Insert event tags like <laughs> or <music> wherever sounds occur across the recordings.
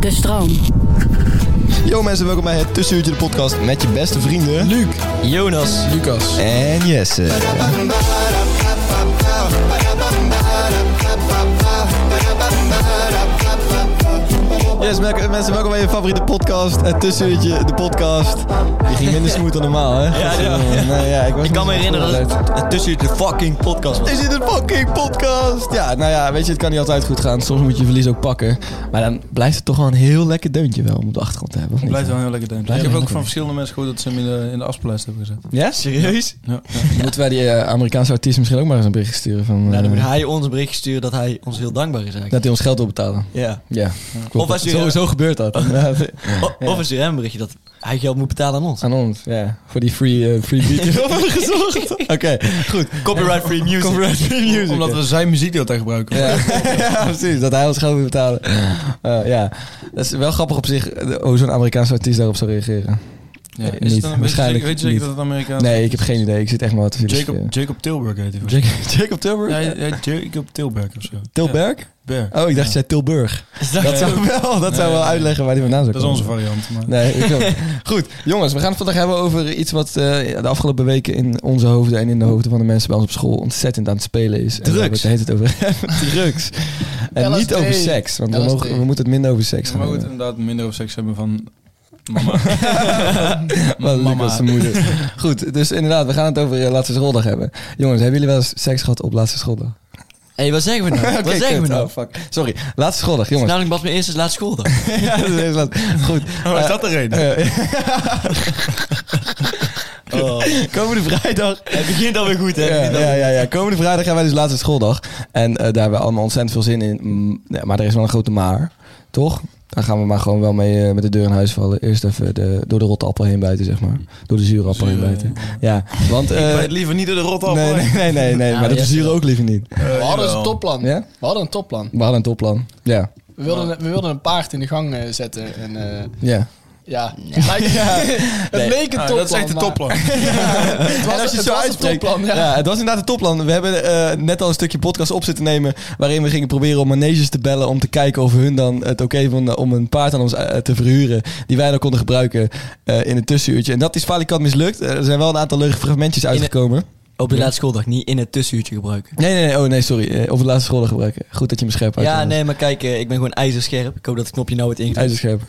De stroom. Yo mensen, welkom bij het Tussenuurtje de podcast met je beste vrienden... Luc, Jonas Lucas. en Jesse. Yes, welk- mensen, welkom bij je favoriete podcast, het Tussenuurtje de podcast. Die ging minder smooth dan normaal, hè? Ja, ja. Nee, ja ik, was Ik kan me niet zo herinneren goed dat het tussen de fucking podcast was. is dit een fucking podcast? Ja, nou ja, weet je, het kan niet altijd goed gaan. Soms moet je verlies ook pakken. Maar dan blijft het toch wel een heel lekker deuntje wel om op de achtergrond te hebben. Of niet? Blijft wel een heel lekker deuntje. Blijft ik heb wel ook lekker. van verschillende mensen gehoord dat ze hem in de, in de afspeellijst hebben gezet. Ja, serieus? Ja, ja. Moeten wij die eh, Amerikaanse artiest misschien ook maar eens een bericht sturen van... Nou, dan moet eh, hij ons een berichtje sturen dat hij ons heel dankbaar is eigenlijk. dat hij ons geld wil betalen. Ja. Ja, klopt. Of als je- zo, zo gebeurt <laughs> dat. Ja, O- Of een CRM berichtje dat hij geld moet betalen aan ons. Aan ons, ja. Voor die free, eh, free beat die <laughs> we <laughs> hebben gezocht. Oké, goed. Copyright free music. Copyright free music. Omdat we zijn muziek de hele tijd gebruiken. Ja. ja, <laughs> precies. Dat hij ons geld moet betalen. Eh, ja, dat is wel grappig op zich eh, hoe zo'n Amerikaanse artiest daarop zou reageren. Ja, niet. het dan- weet je Waarschijnlijk zeker- Weet je zeker niet. dat het Amerikaans Nee, ik heb geen idee. Ik zit echt maar wat te filosoferen. Jacob, Jacob Tilburg heet hij. volgens Jacob, <laughs> Jacob Tilburg? mij. Ja, hij- hij heet Jacob Tilburg of zo. Tilburg? Berg. Oh, ik dacht je zei Tilburg. Dat zou wel, dat zou Nee, wel nee. uitleggen waar die vandaan zou Dat is komen. onze variant. Maar... Nee, ik ook. <laughs> Goed, jongens, we gaan het vandaag hebben over iets wat eh, de afgelopen weken in onze hoofden en in de hoofden van de mensen bij ons op school ontzettend aan het spelen is. En Drugs. waar we het de hele tijd over <laughs> hebben. Drugs. En LSD. niet over seks, want we, LSD. mogen, we moeten het minder over seks maar gaan goed, <laughs> hebben. inderdaad minder over seks hebben van <laughs> mama. Wat leuk mama. was zijn moeder. Goed, dus inderdaad, we gaan het over eh, laatste schooldag hebben. Jongens, hebben jullie wel eens seks gehad op laatste schooldag? Hé, wat zeggen we nou? <laughs> Oké, <laughs> wat zeggen we kut. nou? Oh, fuck. Sorry, laatste schooldag, Het is <laughs> jongens. <laughs> Oh, namelijk wat mijn eerste is laatste schooldag. ja, dat is laat. Goed. Oh, is Eh, dat de reden? eh, <laughs> Komende vrijdag Oh. Het begint alweer goed, hè? Ja, ja, ja, ja. Komende vrijdag gaan wij dus laatste schooldag. En eh, daar hebben we allemaal ontzettend veel zin in. Mm, ja, maar er is wel een grote maar, toch? Daar gaan we maar gewoon wel mee eh, met de deur in huis vallen. Eerst even de, door de rotappel heen bijten, zeg maar. Door de zure appel heen Zure, bijten. Ja, want... eh, Ik weet liever niet door de rot af. nee, nee, nee, nee, nee. maar dat is hier ook liever niet. We hadden een topplan. Ja? We hadden een topplan. We hadden een topplan. Ja, We wilden, we wilden een paard in de gang eh, zetten. En eh, ja. ja, het <laughs> lijkt- het leek Ah, Ah, een topplan. dat is echt een maar topplan. Het was, En als je het het zo was een uitspreekt. topplan, ja. ja. het was inderdaad een topplan. We hebben eh, net al een stukje podcast op zitten nemen. waarin we gingen proberen om maneges te bellen. om te kijken of hun dan het oké vonden om een paard aan ons eh, te verhuren. die wij dan konden gebruiken eh, in een tussenuurtje. En dat is falikant mislukt. Eh, Er zijn wel een aantal leuke fragmentjes uitgekomen. Op de laatste schooldag, niet in het tussenuurtje gebruiken. Nee, nee, nee. Oh, nee, sorry. Eh, Of de laatste scholen gebruiken. Goed dat je me scherp uit. Ja, nee, maar kijk, eh, ik ben gewoon ijzerscherp. Ik hoop dat het knopje nou wordt ingedrukt. IJzerscherp.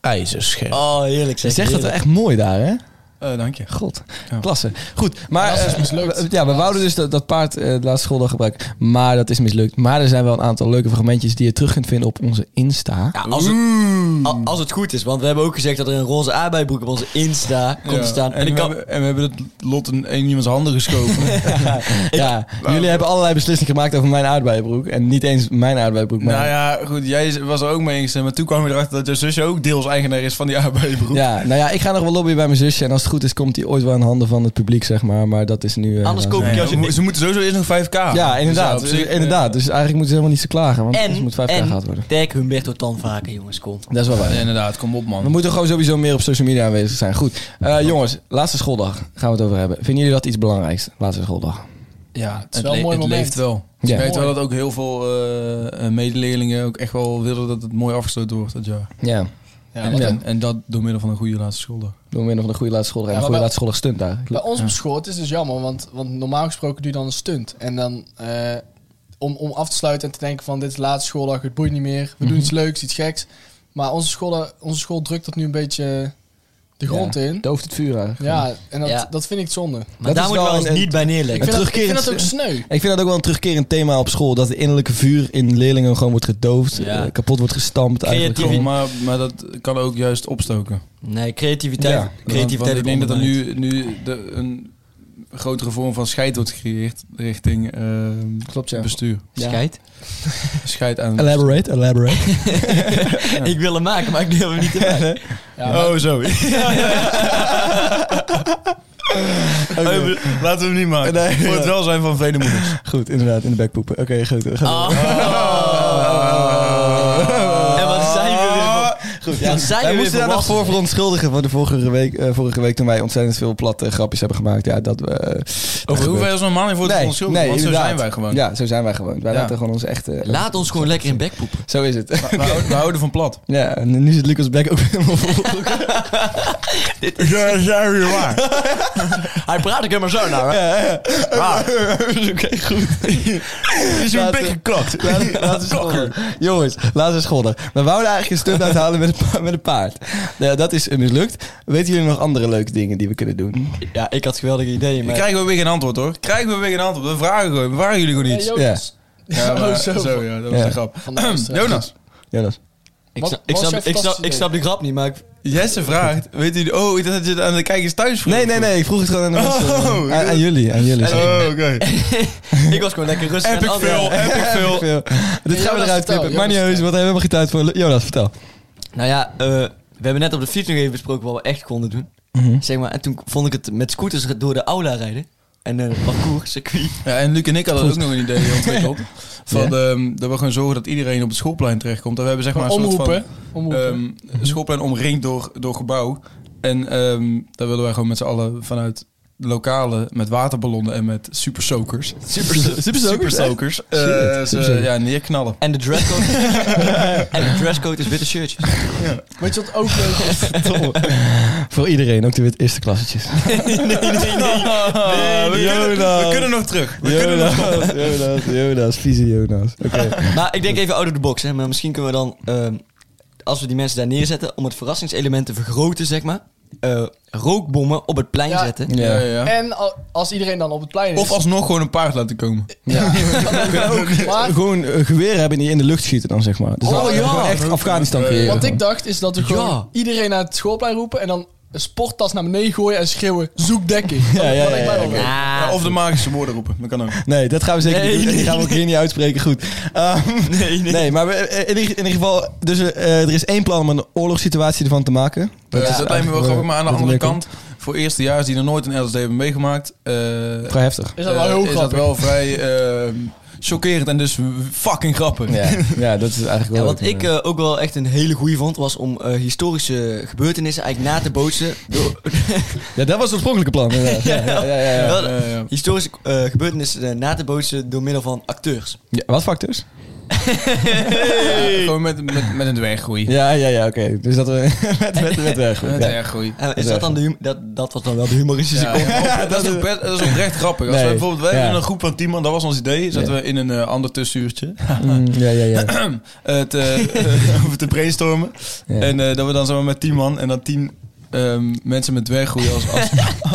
IJzerscherp. Oh, heerlijk Je zeg. zegt dat heerlijk. echt mooi daar, hè? Eh, dank je. God, Ja. klasse. Goed, maar Dat is eh, mislukt. ja, we wouden dus dat, dat paard eh, de laatste schooldag gebruiken, maar dat is mislukt. Maar er zijn wel een aantal leuke fragmentjes die je terug kunt vinden op onze Insta. Ja, als, het, Mm. a- als het goed is, want we hebben ook gezegd dat er een roze aardbeibroek op onze Insta komt te Ja, staan. En, En ik we kan... hebben, en we hebben het lot in, in iemands handen <laughs> geschoven. ja, jullie hebben allerlei beslissingen gemaakt over mijn aardbeienbroek en niet eens mijn aardbeienbroek, maar nou ja, goed, jij was er ook mee ingestemd. Maar toen kwam je erachter dat je zusje ook deels eigenaar is van die <laughs> AB-broek. ja, nou ja, ik ga nog wel lobbyen bij mijn zusje en als het goed is komt die ooit wel in handen van het publiek, zeg maar. Maar dat is nu. eh, Anders eh, koop ik je als ze, mo- je... ze moeten sowieso eerst nog 5k. Ja, inderdaad. Dus, Dus ja, op zich, inderdaad. Dus eigenlijk moeten ze helemaal niet zo klagen, want En, het moet 5k en gehaald worden. tag Humberto Tanvaker, jongens, kom. Dat is wel waar. eh, inderdaad, kom op We man. moeten gewoon sowieso meer op social media aanwezig zijn. Goed. Eh, jongens, laatste schooldag gaan we het over hebben. Vinden jullie dat iets belangrijks? Laatste schooldag. Ja, het, is wel een mooi het moment. leeft wel. Ja. Ik weet Mooi. wel dat ook heel veel eh, eh, medeleerlingen ook echt wel willen dat het mooi afgesloten wordt dat jaar. Ja. Ja, en, want en, en dat door middel van een goede laatste schooldag. Door middel van een goede laatste schooldag. En een Ja, goede maar laatste schooldag stunt daar. Bij ons op school, het is dus jammer, want, want normaal gesproken doe je dan een stunt. En dan eh, om, om af te sluiten en te denken van dit is de laatste schooldag, het boeit niet meer. We doen iets leuks, iets geks. Maar onze, school, onze school drukt dat nu een beetje de grond in. Dooft het vuur uit. Ja, en dat, Ja. dat vind ik zonde. Maar daar is moet je wel wel eens een- niet bij neerleggen. Ik vind, dat, ik vind terugkerend- dat ook sneu. Ik vind dat ook wel een terugkerend thema op school. Dat het innerlijke vuur in leerlingen gewoon wordt gedoofd. Ja. eh, kapot wordt gestampt. eigenlijk. Creatief. Klopt, maar, maar dat kan ook juist opstoken. Nee, creativiteit. Ja, Want- want creativiteit ik denk dat er ondermijnt. nu, nu de, een grotere vorm van scheid wordt gecreëerd richting ehm, Klopt, ja. bestuur. Ja. Scheid. <laughs> Scheid aan Elaborate, elaborate. Ik wil hem maken, maar ik deel hem niet te maken. <laughs> Ja, maar- zo. Oké. <laughs> Laten we hem niet maken. Nee, Voor het ja. welzijn van vele moeders. Goed, inderdaad, in de backpoepen. Oké, goed. we gaan <laughs> Oh. door. En wat zijn we weer... Goed, Ja, zijn wij we moesten weer daar nog voor volwassen. verontschuldigen van de vorige week, eh, vorige week toen wij ontzettend veel platte grapjes hebben gemaakt. Ja, dat we... eh, dat Over gebeurt. hoeveel is normaal niet voor het nee, nee, want zo inderdaad. zijn wij gewoon. Ja, zo zijn wij gewoon. Wij Ja. laten gewoon ons echt... eh, Laat ons gewoon lekker in bek poepen. Zo is het. <laughs> We, <laughs> houden, we houden van plat. ja, en nu zit Lucas Beck ook helemaal vol. <laughs> Ja, zijn we waar. Hij praat ik helemaal zo naar. Ja, <laughs> ja. Oké, <laughs> goed. Is Laten- geklakt. <laughs> Laten laten we scholden. Jongens, laten we scholden. We wouden eigenlijk een stunt uithalen met een, pa- met een paard. Nou, ja, dat is eh, mislukt. Weten jullie nog andere leuke dingen die we kunnen doen? Ja, ik had geweldige ideeën, maar... Krijgen we weer geen antwoord hoor. Krijgen we weer geen antwoord. We vragen gewoon. We vragen jullie gewoon Hey, iets. Jonas. Ja, maar- <laughs> Oh, zo. zo. ja, dat was Ja. een grap. Van de <clears throat> luisteraar. Jonas, Jonas. Ik, Wat- snap, ik, wat snap, is ik, snap, ik jouw fantastische snap die grap niet, maar ik, Jesse vraagt, weet jullie, oh, ik dacht dat je het aan de kijkers thuis vroeg. Nee, nee, nee. Ik vroeg het gewoon aan de mensen. Oh, aan, aan jullie, aan jullie. Oh, oké. <laughs> ik was gewoon lekker rustig. Epic en andere- <laughs> veel, epic veel. Veel. Dit gaan we Jonas, eruit vertel, knippen. Maar niet heus, Jonas, vertel. want we hebben helemaal geen tijd voor. Jonas, vertel. Nou ja, eh, we hebben net op de fiets nog even besproken wat we echt konden doen. Mhm. Zeg maar, en toen vond ik het met scooters door de aula rijden. En eh parcours, circuit. <laughs> Ja, en Luc en ik hadden ook nog een idee <laughs> ontwikkeld. Van, ehm, dat we gewoon zorgen dat iedereen op het schoolplein terechtkomt. En we hebben zeg maar een soort Omroepen. van Omroepen. ehm, schoolplein omringd door, door gebouw. En ehm, daar willen wij gewoon met z'n allen vanuit de lokale met waterballonnen en met supersokers. Super, Supersokers. eh, Shit, ze supersokers. ja, neerknallen. En de dresscode. en de dresscode is witte shirtjes. Weet je wat ook leuk is? <laughs> Voor iedereen, ook de wit eerste klassetjes. <laughs> Ah, we, kunnen, Jonas. we kunnen nog terug. We kunnen nog Jonas, Jonas, Jonas, vieze Jonas. Oké. <laughs> Maar ik denk even out of the box, hè. Maar misschien kunnen we dan, ehm, als we die mensen daar neerzetten, om het verrassingselement te vergroten, zeg maar, eh, rookbommen op het plein Ja. Eh, zetten. Ja, <laughs> ja, ja. En al- als iedereen dan op het plein is. Of alsnog gewoon een paard laten komen. Ja. <laughs> Maar Gewoon eh, geweren hebben die in de lucht schieten dan, zeg maar. Dus Oh, dan ja. gewoon echt Afghanistan creëren. Wat ik gewoon. dacht is dat we gewoon Ja. iedereen naar het schoolplein roepen en dan een sporttas naar beneden gooien en schreeuwen: zoek dekking. Dat- ja, dat ja, lijkt mij wel leuk. Ja, of de magische woorden roepen. Dat kan ook. Nee, dat gaan we zeker Nee, niet doen. Die nee. gaan we ook hier niet uitspreken. Goed. Ehm, Nee, nee. nee, maar we- eh, in, ieder- in ieder geval... Dus, eh, er is één plan om een oorlogssituatie ervan te maken. Dat, is, Dus dat lijkt me wel grappig, maar aan de dat andere werkt ook. kant, voor eerstejaars die nog nooit een LSD hebben meegemaakt, eh, Vrij heftig. Is dat wel eh, heel is dat grappig? wel vrij eh, chockerend en dus fucking grappig. Ja, <laughs> ja, dat is eigenlijk wel... Ja, wat leuk. ik eh, ook wel echt een hele goeie vond, was om eh, historische gebeurtenissen eigenlijk na te bootsen. Door, Ja, dat was het oorspronkelijke plan. inderdaad. Ja, ja, ja, ja, ja. Wel, ja, ja. historische eh, gebeurtenissen eh, na te bootsen door middel van acteurs. Ja, wat dus? factors? Ja, <laughs> gewoon met, met, met een dwerggroei. Ja, ja, ja, oké. Dus dat we... <laughs> met, met, met weg. Met een Ja. dwerggroei. Eh, is is dat, dan de hum- dat, dat was dan wel de humoristische Ja, kant. <laughs> ja, dat, is ook best- dat is oprecht grappig. Als Nee. we bijvoorbeeld, wij Ja. hebben een groep van tien man, dat was ons idee, zaten we in een eh, ander tussenuurtje Mm, ja, ja, ja. eh, te, <laughs> eh, <laughs> over te brainstormen. Ja. En eh, dat we dan zomaar met tien man en dan tien ehm, mensen met dwerggroei als, <laughs>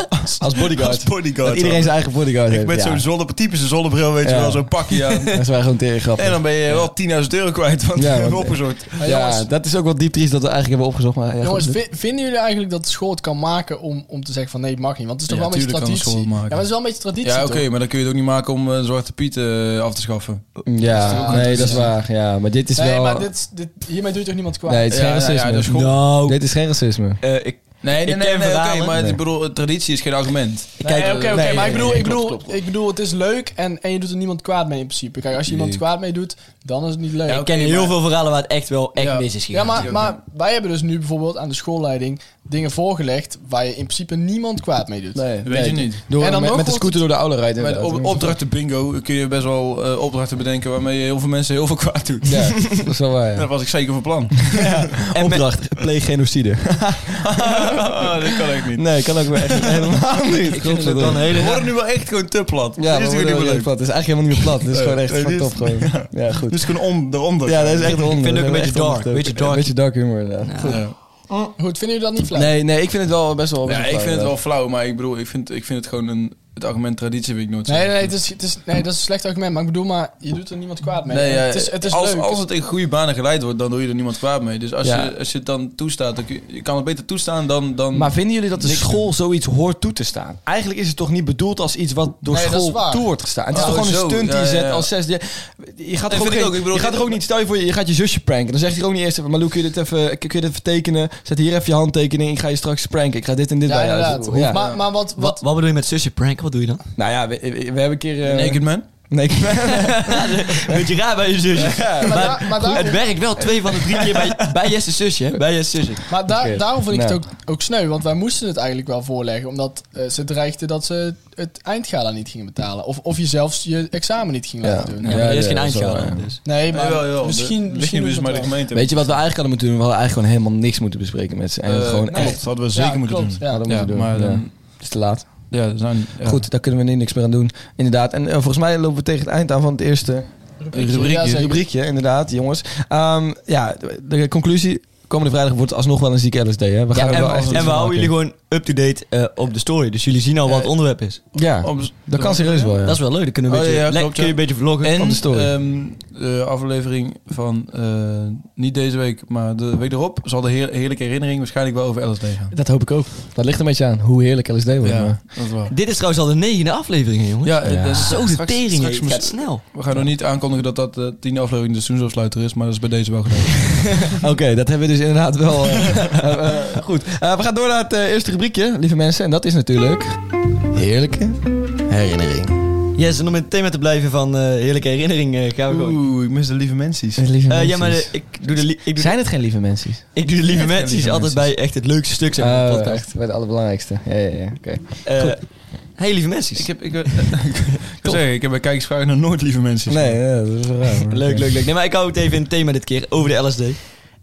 als, Als bodyguard. als bodyguard. dat iedereen zijn eigen bodyguard heeft. Met ja. zo'n zonnebril, typische zonnebril, weet je Ja. wel, zo'n pakje <laughs> aan. Dat is wij gewoon tegen grappig. En dan ben je wel 10.000 euro kwijt, Ja, want we <laughs> want- hebben opgezocht. Maar ja, jongens, dat is ook wel diep triest dat we eigenlijk hebben opgezocht. Maar ja, jongens goed. vi- vinden jullie eigenlijk dat de school het kan maken om, om te zeggen van nee, het mag niet? Want het is toch Ja, wel een beetje tuurlijk kan de traditie. school het Ja, maken. maar het is wel een beetje traditie. Ja, oké, toch? maar dan kun je het ook niet maken om eh, Zwarte Piet eh, af te schaffen. Ja, nee, dat is waar. Ja, maar dit is Nee, wel... maar dit, is- dit, hiermee doe je toch niemand kwaad? Nee, het is Ja, geen nou ja, racisme. dat is goed. Nou, Oh. Dit is geen racisme. eh, ik, Nee, nee, Ik nee, ken nee, oké, verhalen. maar Nee. ik bedoel, traditie is geen argument. ik Nee, kijk, oké, oké, nee, maar nee, ik bedoel, nee, ik, bedoel, klopt, klopt, klopt. ik bedoel, het is leuk en, en je doet er niemand kwaad mee in principe. Kijk, als je iemand Nee. kwaad mee doet, dan is het niet leuk. ik ken heel veel verhalen waar het echt wel echt Ja. mis is Ja, gegaan. maar, maar wij hebben dus nu bijvoorbeeld aan de schoolleiding dingen voorgelegd waar je in principe niemand kwaad mee doet. Nee, Weet je niet. Door En dan met, nog met de wordt- scooter door de oude rijden. Met inderdaad. op, opdrachten bingo kun je best wel eh, opdrachten bedenken waarmee je heel veel mensen heel veel kwaad doet. <laughs> Ja, dat is wel waar. <laughs> Dat was ik zeker van plan. en met, <laughs> Opdracht, pleeg genocide. Oh, dit kan echt niet. Nee, kan ook weer echt helemaal niet. Ik vind het dan We hele... worden nu wel echt gewoon te plat. Ja, dit is maar natuurlijk we niet meer worden leuk. plat. Het is eigenlijk helemaal niet meer plat. Het is Nee, gewoon echt nee, fucked dit up is- gewoon. Ja, goed. Dus gewoon om, daaronder. Ja, dat is echt Ik een vind honderd. ook een beetje Echt dark, honderd. beetje dark. Een beetje dark humor, inderdaad. Ja. Ja. Goed, vinden jullie dat niet flauw? Nee, nee, ik vind het wel best wel... best Ja, wel ik vind flauw, het ja. wel flauw, maar ik bedoel, ik vind, ik vind het gewoon een... Het argument traditie vind ik nooit zo. Nee, nee, nee, het is, het is, nee, dat is een slecht argument. Maar ik bedoel, maar je doet er niemand kwaad mee. Nee, ja, het is, het is als, leuk. als het in goede banen geleid wordt, dan doe je er niemand kwaad mee. Dus als, Ja. je, als je het dan toestaat, dan kun je, je kan het beter toestaan dan... dan Maar vinden jullie dat de Niks school zoiets hoort toe te staan? Eigenlijk is het toch niet bedoeld als iets wat door Nee, dat is school waar. toe wordt gestaan. Het is Ja, toch gewoon een sowieso. stunt die je Ja, ja, zet ja. als zes. Je gaat vind toch ook, ik geen- ook. Ik bedoel, je gaat ik- toch ook niet, stel je voor, je gaat je zusje pranken. Dan zegt hij ook niet eerst even, Malou, kun je dit even, kun je dit even tekenen? Zet hier even je handtekening, ik ga je straks pranken. Ik ga dit en dit ja, bij jou. inderdaad. Ja. Maar, maar Wat, wat, wat, wat bedoel je met zusje prank? Wat doe je dan? Nou ja, we, we- we hebben een keer... eh, <laughs> Naked man? Naked Man. Beetje raar bij je zusje. Ja. maar, Maar daar- maar, het daarom, werkt wel twee van de drie keer <laughs> bij, bij Jesse's zusje. hè? Bij Jesse's zusje. maar daar- Oké. daarom vind ik Nou. het ook, ook sneu. Want wij moesten het eigenlijk wel voorleggen. Omdat eh, ze dreigden dat ze het eindgala niet gingen betalen. Of, of je zelfs je examen niet ging Ja. laten doen. Ja, Ja, maar er is ja, geen dat is wel eindgeld waar. aan, dus. Nee, maar Nee, wel, wel. misschien... De- misschien ligt doen dus ze maar de het wel. gemeente. Weet je wat we eigenlijk hadden moeten doen? We hadden eigenlijk gewoon helemaal niks moeten bespreken met ze. En Eh, gewoon klopt, echt... dat hadden we zeker Ja, moeten klopt, doen. ja. hadden we moeten doen. maar ja. dan... Het is te laat. Ja, dat zijn, ja. Goed, daar kunnen we nu niks meer aan doen. Inderdaad. En eh, volgens mij lopen we tegen het eind aan van het eerste Ja, Rubriekje. zeker. rubriekje. Inderdaad, jongens. Ehm, ja, de, de conclusie. Komende vrijdag wordt het alsnog wel een zieke LSD. Hè? We gaan Ja, er en, wel echt iets en we van houden jullie maken. gewoon up-to-date eh, op de story. Dus jullie zien al wat het onderwerp is. Ja, dat kan serieus wel. Ja. Dat is wel leuk. Dan kunnen we een Oh, beetje, ja, ja, le- klopt, kun je ja. een beetje vloggen. En Van de eh, story. ehm, de aflevering van, eh, niet deze week, maar de week erop, zal de heer- heerlijke herinnering waarschijnlijk wel over LSD gaan. Dat hoop ik ook. Dat ligt een beetje aan hoe heerlijk LSD wordt. maar- dat is waar. Dit is trouwens al de negende aflevering, hè, jongens. Ja, eh, Ja. dat is- Zo de straks- tering, hè. straks het moest- gaat snel. We gaan nog niet aankondigen dat dat de tiende aflevering de seizoensafsluiter is, maar dat is bij deze wel gedaan. Oké, dat hebben we dus inderdaad wel. <laughs> eh, eh, eh, goed, Eh, we gaan door naar het eh, eerste rubriekje, lieve mensen. En dat is natuurlijk... Heerlijke herinnering. Yes, en om in het thema te blijven van eh, heerlijke herinnering eh, gaan we gewoon... Oeh, ik mis de lieve mensies. Lieve Eh, ja, maar eh, mensen. ik doe de, li- ik doe Zijn het geen lieve mensen? Ik doe de lieve Ja, mensen Eh, lieve altijd bij mensen. echt het leukste stuk zeg maar, van de Oh, podcast. echt, bij de allerbelangrijkste. Ja, ja, ja. oké. Eh, hey lieve mensen. Ik heb, ik, eh, <laughs> wil- ik, wil zeggen, ik heb bij kijkersvragen nog nooit lieve mensen. Nee, ja, dat is wel raar. maar Leuk, oké. leuk, leuk. Nee, maar ik hou het even in het thema dit keer over de LSD.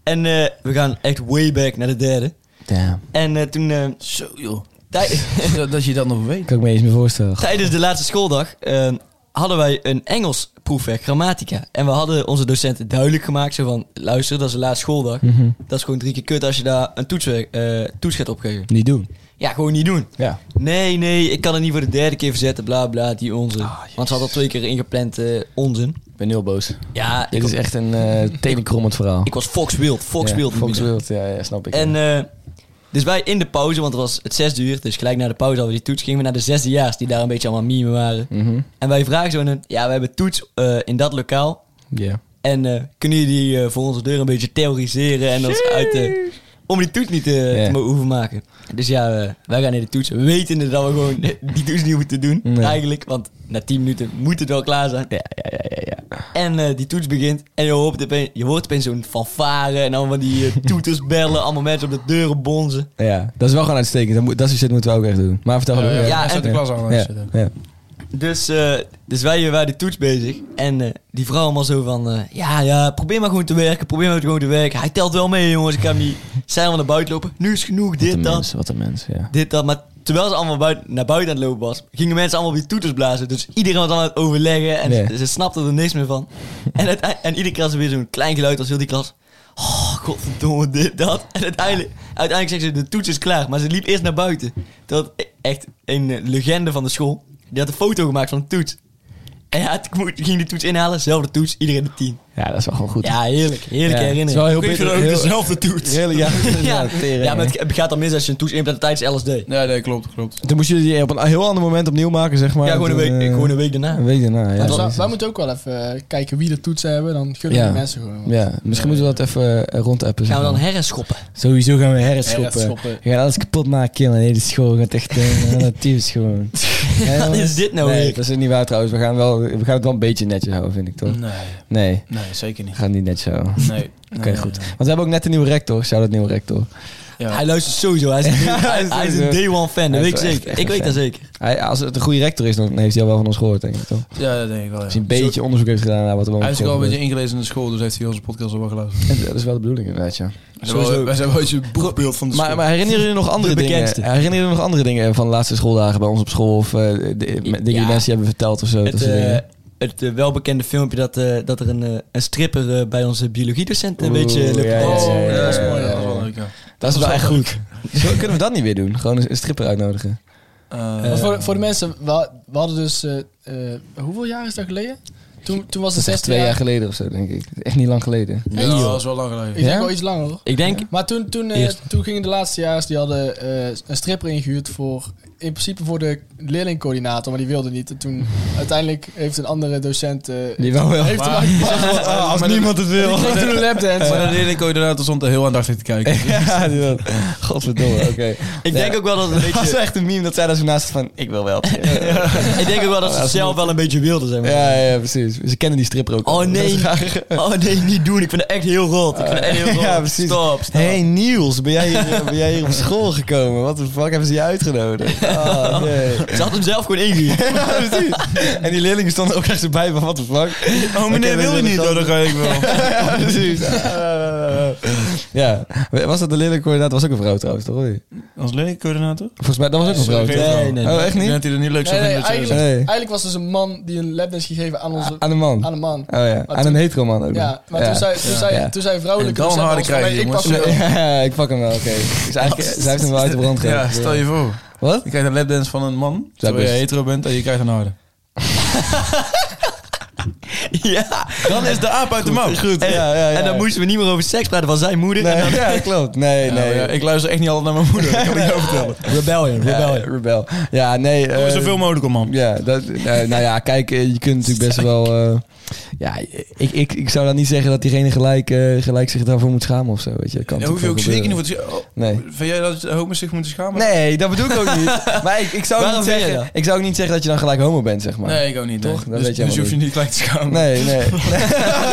En eh, we gaan echt way back naar de derde. Damn. En eh, toen eh, Zo joh, tij- <laughs> dat, dat je dat nog weet. Kan ik me eens meer voorstellen. tijdens de laatste schooldag eh, hadden wij een Engels proefwerk, grammatica. En we hadden onze docenten duidelijk gemaakt, zo van, luister, dat is de laatste schooldag. Mhm. Dat is gewoon drie keer kut als je daar een toetswerk, eh, toets gaat opgeven. Niet doen. Ja, gewoon niet doen. Ja. Nee, nee, ik kan het niet voor de derde keer verzetten, bla bla, die onzin. Ah, Want ze had al twee keer ingepland eh, onzin. Ik ben heel boos. Ja, Dit ik, is was- echt een eh tenenkrommend verhaal. ik was Fox Wild. Fox ja, Wild. Fox noem je Wild, ja, ja, snap ik. dat. En eh, dus wij in de pauze, want het was het zesde uur, dus gelijk na de pauze hadden we die toets, gingen we naar de zesdejaars die daar een beetje allemaal mime waren. Mhm. En wij vragen zo aan hun, ja, we hebben toets eh, in dat lokaal. Ja. En eh, kunnen jullie eh, voor onze deur een beetje theoriseren en ons uit eh, om die toets niet eh, Ja. te mo- hoeven maken. Dus ja, eh, wij gaan naar de toets. We weten dat we gewoon <laughs> die toets niet moeten doen. Nee. Eigenlijk, want na 10 minuten moet het wel klaar zijn. Ja, ja, ja, ja, ja. En eh, die toets begint. En je hoort opeens, je hoort opeens zo'n fanfare. En allemaal <laughs> die eh, toeters bellen. Allemaal mensen op de deuren bonzen. Ja, dat is wel gewoon uitstekend. Dat, moet, dat soort shit moeten we ook echt doen. Maar vertel Ja, gewoon. ja, Ja, ja, en- zet de klas aan. Ja, ja. Dus, eh, dus wij eh, waren die toets bezig. En eh, die vrouw allemaal zo van... eh, ja, ja, probeer maar gewoon te werken. Probeer maar gewoon te werken. Hij telt wel mee, jongens. Ik ga hem niet... <laughs> Zijn we naar buiten lopen. Nu is genoeg. Wat een Dit, dat. mens, wat een mens, ja. Dit, dat. Maar terwijl ze allemaal buiten, naar buiten aan het lopen was... gingen mensen allemaal weer toeters blazen. Dus iedereen was allemaal aan het overleggen. En Ja. ze, ze snapte er niks meer van. En, uite- en iedere keer als er weer zo'n klein geluid was... heel die klas... Oh, godverdomme, dit, dat. En uiteindelijk, uiteindelijk zegt ze, de toets is klaar. Maar ze liep eerst naar buiten. Dat echt een eh, legende van de school. Die had een foto gemaakt van de toets. En ja, het mo- ging die toets inhalen. Zelfde toets, iedereen de tien. Ja, dat is wel gewoon goed. Ja, heerlijk. Heerlijke Ja, het is herinnering. wel heel Geef je bitter- dan ook heel- dezelfde toets. Heerlijk, ja. <laughs> Ja, tering, ja, maar hè. het, het gaat dan mis als je een toets inplant tijdens LSD. Ja, nee, klopt, klopt. Toen moest je die op een heel ander moment opnieuw maken, zeg maar. ja, gewoon een, Toen, week, eh, gewoon een week daarna. Een week daarna, ja. Maar wij- precies. wij moeten ook wel even eh, kijken wie de toetsen hebben. Dan gunnen Ja. die mensen gewoon. Ja, misschien moeten we dat even eh, rondappen. zeg Gaan we dan maar. herschoppen? Sowieso gaan we herschoppen. Herschoppen. Je gaat alles kapot maken, killen. Nee, de school gaat echt eh, aan het tyfus gewoon. Ja, Wat jongens. is dit nou nee, weer? dat is niet waar trouwens. We gaan, wel, we gaan het wel een beetje netjes houden, vind ik toch? Nee, Nee, nee, zeker we <laughs> niet. gaan het niet netjes houden. Mm. Nee. Oké, goed. Want we hebben ook net een nieuwe rector. Shout-out nieuwe rector. Ja. Hij luistert sowieso. Hij is <laughs> een, day- hij, hij is een day one fan. Dat Hij is wel echt- weet ik zeker. echt Ik een weet dat fan. zeker. Hij, als het een goede rector is, dan heeft hij al wel van ons gehoord, denk ik. Toch? Als Ja, dat denk ik wel. hij een beetje onderzoek heeft gedaan naar wat er wel Hij is op ook wel een school beetje ingelezen in de school, dus heeft hij onze podcast al wel geluisterd. gebeurt. <laughs> Dat is wel de bedoeling, inderdaad, ja. Wij zijn wel- Wij zijn wel eens een boekbeeld van de school. Maar, maar herinneren jullie nog andere De dingen? bekendste. Herinneren jullie nog andere dingen van de laatste schooldagen bij ons op school? Of eh, de- de- dingen die Ja. mensen je hebben verteld of zo? dat Het, soort eh, dingen? het eh, welbekende filmpje dat, eh, dat er een, eh, een stripper eh, bij onze biologiedocent een beetje Oeh, loopt. ja, dansen. ja, ja, dat was mooi. ja, Dat was ja. wel leuk, Oh, ja. dat is wel echt goed. Zo, kunnen we dat niet weer doen? Gewoon een een stripper uitnodigen. Eh, Want voor, voor de mensen, we, we hadden dus... eh, eh, hoeveel jaar is dat geleden? Toen, toen was Dat is het echt 16 twee jaar jaar. geleden of zo, denk ik. Echt niet lang geleden. ja, dat was wel lang Ik geleden. denk Ja? wel iets langer hoor. Ik denk, <laughs> Maar toen, toen, eh, Eerst. toen gingen de laatste jaars, die hadden eh, een stripper ingehuurd voor, in principe voor de leerlingcoördinator, maar die wilde niet. En toen uiteindelijk heeft een andere docent, eh, Die wou wel. heeft hem Maar- aangepakt. Ah, als niemand het <laughs> Die wil. kreeg toen een lapdance. Maar de leerling inderdaad stond er heel aandachtig te kijken. <laughs> Ja, die wel. Godverdomme, oké. ik denk Ja. ook wel dat het een Het was beetje... echt een meme <laughs> dat zij daar zo naast zat van, ik wil wel. ik denk ook wel dat ze het zelf wel een beetje wilden zijn. Ja, ja, precies. Ze kennen die stripper ook. Oh nee, <laughs> oh nee, niet doen. Ik vind het echt heel rot. Ik vind het echt heel rot. Ja, precies. Stop, stop. hey, Niels, ben jij, hier, ben jij hier op school gekomen? Wat de fuck hebben ze je uitgenodigd? Oh, nee. Ze had hem zelf gewoon <laughs> ingehuurd. Ja, precies. En die leerlingen stonden ook echt zo bij van, what the fuck? <laughs> Oh, Oké, meneer wil je we niet? gaan- Oh, dan ga ik wel. ja, precies. ja, was dat de leerlingencoördinator? was ook een vrouw trouwens, toch? <laughs> Als leerlingcoördinator? Volgens mij, dat was ook een vrouw. Sorry, toch? Nee, nee, nee. Oh, echt Ik niet? denk dat hij er niet leuk zou Nee, nee, vinden. dat je- eigenlijk, Nee. eigenlijk was dus een man die een lapdance gegeven aan, onze, Aan de man. aan een man. Oh ja, Maar aan een toen- hetero man ook. nog. Ja, maar Ja. toen zei, toen zei, Ja. toen zei vrouwelijke En dan harder was van, krijgen, nee, ik pak jongens. hem wel. Ja, ik pak hem wel, oké. Dus eigenlijk, zij heeft hem wel uit de brand gehaald. Ja, stel je voor. Wat? Je krijgt een lapdance van een man, terwijl je best. hetero bent en je krijgt een harde. Ja. Dan is de aap uit de mouw. Goed, ja, ja, ja. En dan moesten we niet meer over seks praten van zijn moeder. Nee, En dan... <laughs> ja, klopt. Nee, Ja, nee. maar Nou, ja, ik luister echt niet altijd naar mijn <laughs> moeder, dat kan ik <laughs> jou vertellen. ja, Rebellion, rebellion. rebel. Ja, nee. Doe eh, Zoveel mogelijk om, man. Ja, dat, eh, nou ja, kijk, eh, je kunt natuurlijk best wel... eh, ja, ik, ik, ik zou dan niet zeggen dat diegene gelijk, eh, gelijk zich daarvoor moet schamen of zo, weet je. Dat kan Daar hoef je ook natuurlijk zeker niet wel voor te scha- oh, Nee. Vind jij dat homo's zich moeten schamen? gebeuren. Nee, dat bedoel ik ook <laughs> niet. Maar ik, ik, zou ook Waarom niet vind je zeggen, dat? ik zou ook niet zeggen dat je dan gelijk homo bent, zeg maar. Nee, ik ook niet. nee. Toch? Dat dus weet jij dus je wel hoef je niet gelijk te schamen. Nee, <laughs> nee.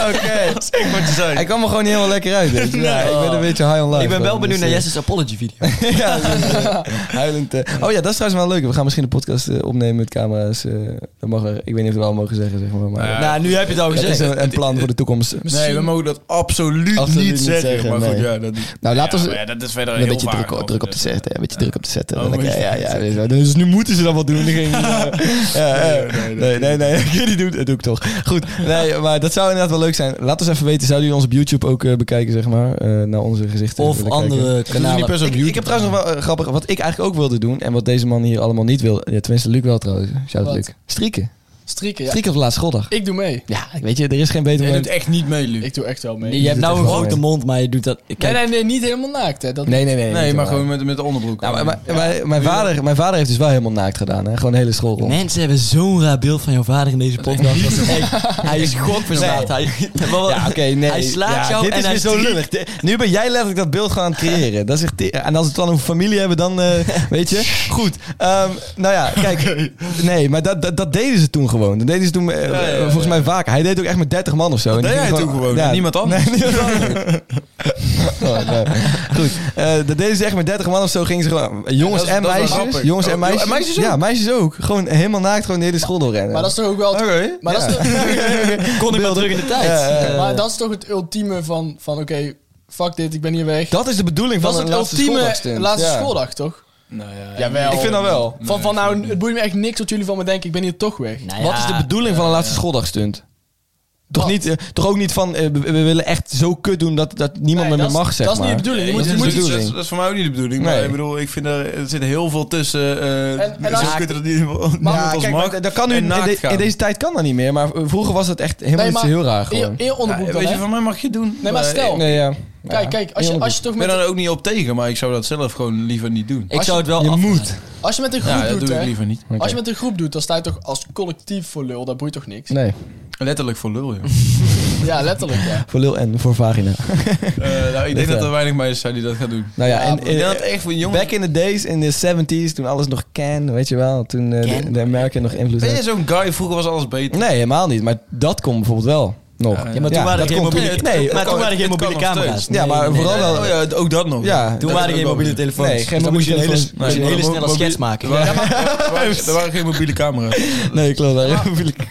Oké. Ik word te zijn. Hij kwam er gewoon niet helemaal lekker uit. weet je. Ja, Nee. ik Oh. ben een beetje high on life. Ik ben wel man. benieuwd Dus, naar eh, Jesse's apology video. <laughs> ja, dus, eh, huilend. eh. Oh ja, dat is trouwens wel leuk. We gaan misschien de podcast eh, opnemen met camera's. eh, dat mag er, ik weet niet of we dat al mogen zeggen, zeg maar. maar Nou ja, nou, nu heb je het al dat is gezegd. een, een plan voor de toekomst. Nee, we mogen dat absoluut, Absoluut niet niet zeggen. zeggen, maar goed, nee. ja, dat, Nou, laat ja, ons maar ja, dat is verder een heel beetje vaag druk, nog, druk op te dus, zetten. Een beetje druk op te zetten. Oh, En dan- moet ja, je- ja, ja, dus, dus nu moeten ze dat wat doen. Dan ging- Ja, ja, nee, nee, nee, nee. <laughs> ik weet niet doen. Dat doe ik toch. Goed, nee, maar dat zou inderdaad wel leuk zijn. Laat ons even weten. Zouden jullie ons op YouTube ook eh, bekijken, zeg maar? eh, naar onze gezichten. Of willen kijken? andere kanalen. per se op Ik, ik YouTube. heb trouwens nog wel eh, grappig, wat ik eigenlijk ook wilde doen en wat deze man hier allemaal niet wil. Ja, tenminste, Luc wel trouwens. Shout out Wat? Luc. Strieken. Strieken, ja. Strieken op de laatste schooldag. Ik doe mee. Ja, weet je, er is geen beter Jij doet moment. echt niet mee, Luc. Ik doe echt wel mee. Je hebt zit nou er een gewoon grote in. mond, maar je doet dat... Kijk, Nee, nee, nee, niet helemaal naakt hè. Dat, Nee, nee, nee. Nee, niet maar waar. gewoon met, met de onderbroek. Nou, maar, maar- maar- mijn, vader, mijn vader heeft dus wel helemaal naakt gedaan. Hè? Gewoon de hele school rond. Mensen hebben zo'n raar beeld van jouw vader in deze podcast. Dat is echt- hij is gokverslaafd. Hij, Oh, Ja, oké, nee. Hij slaat Ja, jou dit en is hij weer zo striekt. lullig. Dit- Nu ben jij letterlijk dat beeld gaan aan het creëren. Dat is echt te- en als we het dan over familie hebben, dan <laughs> eh, weet je. Goed. ehm, nou ja, kijk. Nee, maar dat, dat, dat deden ze toen gewoon. Dat deden ze toen eh, ja, ja. volgens mij vaker. Hij deed ook echt met 30 man of zo. En Dat die deed ging hij toen <laughs> gewoon, niemand anders. Nee, niemand anders. Oh, nee. Goed. Eh, dat deden ze echt met 30 man of zo. Gingen ze gewoon. Jongens dat is- en dat is wel meisjes. grappig. Jongens Oh, en meisjes. en meisjes ook? Ja, meisjes ook. Gewoon helemaal naakt, gewoon de hele school doorrennen. Maar dat is toch ook wel... het- Maar, dat <laughs> is toch, kon ik wel terug in de tijd. Ja, ja, ja. maar dat is toch het ultieme van, van oké, fuck dit, ik ben hier weg. Dat is de bedoeling Dat van is een het laatste ultieme schooldagsstint. laatste Ja. schooldag, toch? Nou ja, Jawel. Ik vind dat wel. Van, van nou, het boeit me echt niks wat jullie van me denken, ik ben hier toch weg. Nou Wat is de ja. bedoeling van een laatste schooldagsstunt? Toch, Wat? niet, eh, toch ook niet van, eh, we, we willen echt zo kut doen dat, dat niemand Nee, meer dat is- mag, zeg dat is niet maar. de bedoeling. Je Dat moet, is je de moet, natuurlijk- bedoeling. dat is- dat is voor mij ook niet de bedoeling. Maar Nee. ik bedoel, ik vind er, er zit heel veel tussen. eh En- en zo als- kun je dat niet niet Maar- als ja, kijk, mag. maar dat kan nu, en in, naakt de- gaan. in deze tijd kan dat niet meer, maar eh, vroeger was dat echt helemaal Nee, niet maar zo heel raar eer, gewoon. eer onderbroek Ja, dan, weet je, hè? van mij mag je doen. Nee, maar stel, nee, ja. kijk, kijk, als je, als je toch Ik ben met, er ook niet op tegen, maar ik zou dat zelf gewoon liever niet doen. Ik zou het wel Je afraden. moet. als je met een groep Ja, dat doet, doe ik hè? liever niet. Oké. Als je met een groep doet, dan sta je toch als collectief voor lul, dat boeit toch niks? Nee, Letterlijk voor lul, joh. Ja, letterlijk, ja. voor lul en voor vagina. Eh, nou, ik denk Dit, dat eh. er weinig meisjes zijn die dat gaan doen. Nou ja, Ja, en, maar Ik denk eh, dat echt voor jongens... back in the days, in de 70s, toen alles nog can, weet je wel. Toen eh, de, Can? de American nog invloed Ben had. je zo'n guy? Vroeger was alles beter. Nee, helemaal niet. Maar dat komt bijvoorbeeld wel. nog. Ja, Ja, maar toen Ja, waren er dat geen komt mobiele, toen- nee, oh, maar ook- toen waren er geen het kan mobiele nog camera's. steeds. Ja, maar vooral wel- Oh ja, ook dat nog. Ja, Toen dat waren er geen ook mobiele wel. telefoons. Nee, Dus geen dan moest je een hele, mobiele moest je een hele snelle schets maken. Er waren, er waren geen mobiele camera's. Nee, klopt. daar-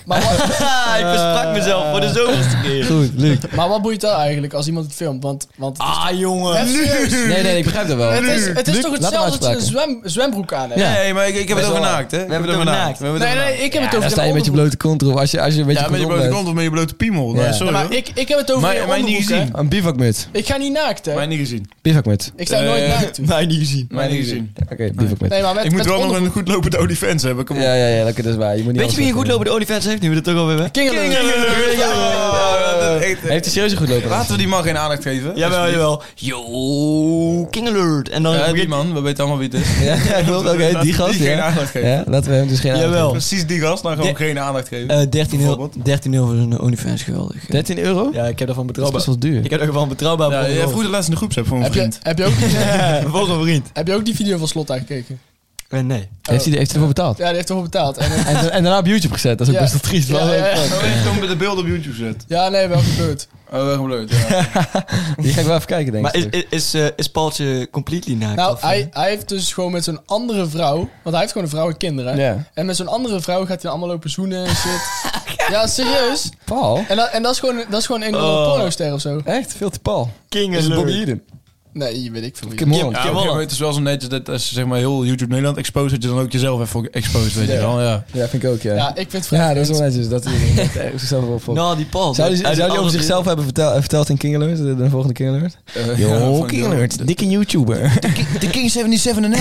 Maar wat, Ah, ik besprak mezelf voor de zoveelste keer. <laughs> Goed, Luc. maar wat boeit dat eigenlijk als iemand het filmt? Want, want Ah, jongen. Even serieus. Nee, nee, ik begrijp dat wel. het is, het is Luc, toch laat hem hetzelfde als je een uitspraken. zwem, zwembroek aan hebt? Ja. Nee, maar ik, ik heb het Best over wel. naakt, hè? We hebben het over over naakt. We hebben het Nee, over nee, naakt. ik heb het Dan over sta de je met je onderbroek. blote kont erop. Als je, als je een beetje Ja, met je condoom blote bent. kont of met je blote piemel. Nee, Ja. sorry Ja, hoor. maar ik, ik heb het over Maar- je maar niet onderbroek, gezien. hè? Een bivakmut. Ik ga niet naakt, hè? Mij niet gezien. Bivakmut. Ik sta nooit Eh, naakt. toe. Mij niet gezien. Mij niet gezien. Oké, bivakmut. Nee, maar met, Ik moet met wel nog onderbroek. een goed lopende olifant hebben. Kom op. Ja, ja, ja, dat is waar. Je moet niet eh, Weet je wie een goed lopende olifant heeft? Nu we het toch over hebben. Kingeling. Kingeling. Ja, dat is echt- Heeft hij serieus een goed lopen? Laten we die man geen aandacht geven. Jawel, jawel. Yo, King Alert. En dan Ja, die begint- man, we weten allemaal wie het is. Ja, <laughs> ja, klopt. Oké, Laten we die gast. geen Ja. aandacht geven. ja, laten we hem dus geen aandacht Jawel. Precies die gast, nou gewoon Ja. geen aandacht geven. Eh, 13 euro, Bijvoorbeeld. 13 euro voor zo'n olifant, geweldig. geven. 13 euro? Ja, ik Dat heb daarvan is betrouwbaar. best wel duur. Ik heb daarvan betrouwbaar Ja, voor jij vroeg de laatste in de groepsapp voor een Heb je, vriend. heb, je ook, <laughs> Voor een vriend. heb je ook die video van Slot aangekeken? Eh, Nee. Heeft hij heeft hij ervoor betaald? Ja, die heeft ervoor betaald. En, eh, En, en daarna op YouTube gezet. Dat is ook Ja. best wel triest. ja, wel. ja, ja. Oh, ik kom met de beelden op YouTube zet. Ja, nee, wel gebeurd. Oh, wel gebleut. Ja. Die ga ik wel even kijken, denk Maar is, ik. is, is, eh, is Paultje completely naakt? Nou, of, eh? hij, hij heeft dus gewoon met zo'n andere vrouw... Want hij heeft gewoon een vrouw en kinderen. hè? Ja. En met zo'n andere vrouw gaat hij allemaal lopen zoenen <laughs> en shit. ja, serieus. Paul? En, dat en dat, is gewoon, dat is gewoon een Oh. pornoster of zo. Echt? Veel te Paul. King Is het Bobby Alert. Eden? Nee, weet ik veel wie. Kim Holland. Ja, oké, maar het is wel zo netjes dat als je zeg maar heel YouTube Nederland exposed, dat je dan ook jezelf even exposed, weet je Ja. wel. Ja. Ja, vind ik ook, ja. Ja, ik vind het vrij Ja, dat is vreemd. wel netjes. Dat <laughs> hij dat hij zichzelf wel volgt. Nou, die Paul. Zou die, zou Uit die alles- over zichzelf hebben vertel- verteld in King Alert, de, de volgende King Alert? Eh, <laughs> ja, Yo, van- King Alert, dikke YouTuber. De King 77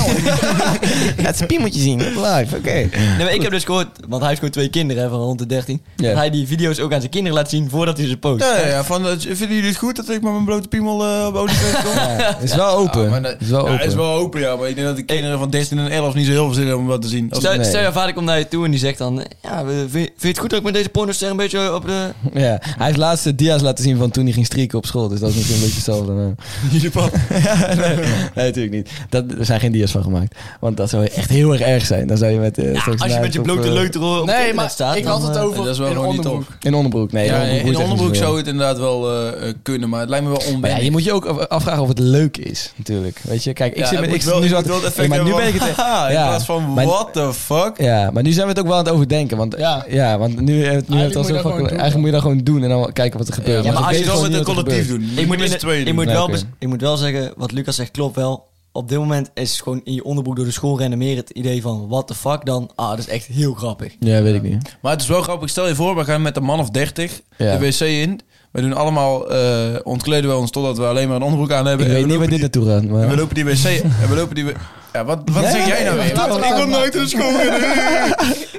NL. Laat zijn piemeltje zien, live, oké. Nee, maar ik heb dus gehoord, want hij heeft gewoon twee kinderen hè, van rond de 13. Ja. Dat hij die video's ook aan zijn kinderen laat zien voordat hij ze post. Ja, ja, ja, van, eh, vinden jullie het goed dat ik met mijn blote piemel eh op olifant kom? Ja, Het is wel <laughs> open. maar dat- Het is wel Ja, open. is wel open, ja. Maar ik denk dat de kinderen van 13 en 11 niet zo heel veel zin hebben om dat te zien. Als- Stel, Nee. stel je vader komt naar je toe en die zegt dan... eh, Ja, we- vind, vind je het goed dat ik met deze pornoster een beetje op de... Ja. Hij heeft laatst de dia's laten zien van toen hij ging strieken op school, dus dat is misschien een beetje hetzelfde. maar- <laughs> Jullie <laughs> pap. Nee, natuurlijk niet. Dat, er zijn geen dia's van gemaakt. Want dat zou echt heel erg erg zijn. Dan zou je met... eh, Ja, straks als je naakt met je op, blote eh, leuter op het Nee, internet maar staat... ik dan, had het eh, over dat is wel in gewoon niet onderbroek. In onderbroek, nee. Ja, boeit in de echt onderbroek niet zou zoveel. het inderdaad wel eh, eh, kunnen, maar het lijkt me wel Maar ja, onwennig. je moet je ook af- afvragen of het leuk is, natuurlijk. Weet je, kijk, ik Ja, zit het met... moet Ik zit wel- nu het zo moet te- wel het Hey, effect maar nu hebben ben ik van, <laughs> het... "Haha," ja, in plaats van maar- what the fuck. Ja, maar nu zijn we het ook wel aan het overdenken. Want, Ja. ja. want nu, eh, nu hebben we het al moet je zo dat vaak- gewoon doen, Eigenlijk ja. moet je dat gewoon doen en dan kijken wat er gebeurt. Ja, maar dan als je weet het wel gewoon niet met een wat er collectief gebeurt. doet, Ik moet, met z'n in- tweeën ik, doen. moet Ja, wel oké. bes- ik moet wel zeggen, wat Lucas zegt klopt wel. Op dit moment is gewoon in je onderbroek door de school rennen meer het idee van... What the fuck dan? Ah, dat is echt heel grappig. Ja, weet ik niet. Maar het is wel grappig. Stel je voor, we gaan met een man of 30 Ja. de wc in. We doen allemaal, eh, ontkleden we ons totdat we alleen maar een onderbroek aan hebben. Ik en weet we niet waar lopen dit naartoe gaat, die- en we maar... lopen die wc... en we lopen die... w- Ja, wat, wat Ja, zeg jij nou ja, weer? ja, ja. ik kom nooit in de school.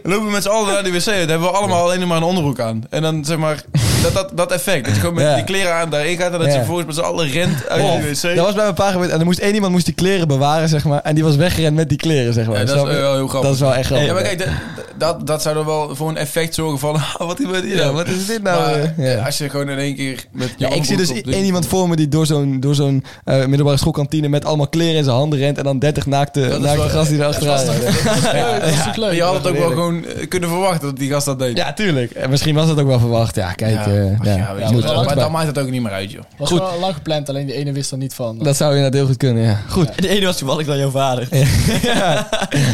We <laughs> lopen met z'n allen naar die wc. Dan hebben we allemaal alleen maar een onderbroek aan. En dan zeg maar... Dat, dat, dat effect. Dat je gewoon met Ja. die kleren aan daarin gaat. En dat Ja. je vervolgens met z'n allen rent uit Of, die wc. Oh. dat was bij mijn pa gebeurd. En er moest één iemand moest die kleren bewaren, zeg maar. En die was weggerend met die kleren, zeg maar. Ja, dat is eh, Snap je? wel heel grappig. Dat is wel echt grappig. ja, maar kijk, dat, dat, dat zou dan wel voor een effect zorgen van... <laughs> Wat gebeurt hier Ja, nou? wat is dit nou? Maar, eh? Ja. Als je gewoon in één keer met je Ja, ik zie onderbroek dus op doet. één iemand voor me die door zo'n door zo'n eh, middelbare schoolkantine met allemaal kleren in zijn handen rent en dan 30 naakte, is naakte wel- gasten die <laughs> erachteraan rennen. Leuk, Dat is toch Maar leuk? je had het ook wel Heerlijk. gewoon eh, kunnen verwachten dat die gast dat deed. Ja, tuurlijk. En misschien was dat ook wel verwacht. Ja, kijk. Ja. eh, Ach, ja, ja, weet dat je moet- wel. dat maar moet- dan maakt het ook niet meer uit, joh. Was Goed. wel lang gepland, alleen de ene wist er niet van. dat zou inderdaad heel goed kunnen, <laughs> ja. Goed. De ene was toevallig dan jouw vader. Ja.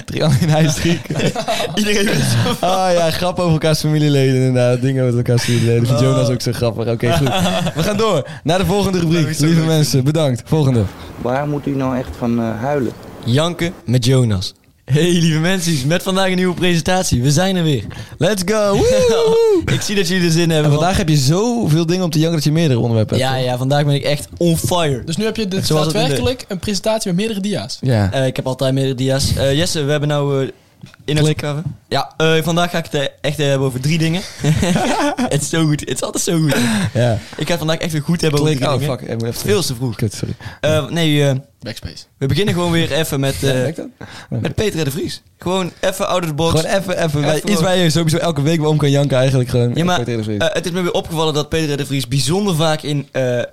Triangle in ijsdriek. <laughs> Iedereen wist <laughs> zo Ah ja, grap over elkaars familieleden inderdaad. Dingen met elkaars familieleden. Vind Jonas ook zo grappig. Oké, <laughs> goed. We gaan door naar de volgende rubriek. Lieve mensen, bedankt. Volgende. Waar moet u nou echt van eh, huilen? Janken met Jonas. Hey lieve mensen, met vandaag een nieuwe presentatie. We zijn er weer. Let's <laughs> go. Woehoe. ik zie dat jullie er zin En hebben. vandaag heb je zoveel dingen om te janken dat je meerdere onderwerpen want- hebt. Ja, ja, vandaag ben ik echt on fire. Dus nu heb je dit Zoals het in de- daadwerkelijk een presentatie met meerdere dia's. Ja. Eh, ik heb altijd meerdere dia's. Eh, Jesse, we hebben nou... eh, in het cover. Ja, eh, vandaag ga ik het eh, echt eh, hebben over drie <laughs> dingen. het is zo goed. Het is altijd zo goed. ja. Ik ga het vandaag echt weer goed hebben over Klik. drie Oh, dingen. fuck. Ik moet even Veel te vroeg. Kut, sorry. Eh, nee, eh, Backspace. we beginnen gewoon weer even met, eh, Merk dat? met Peter en de Vries. Gewoon even out of the box. Gewoon even, even, wij- even iets waar je sowieso elke week wel om kan janken eigenlijk. Gewoon. ja, maar Ik weet het eerlijk eh, het is me weer opgevallen dat Peter R. de Vries bijzonder vaak in eh, eh,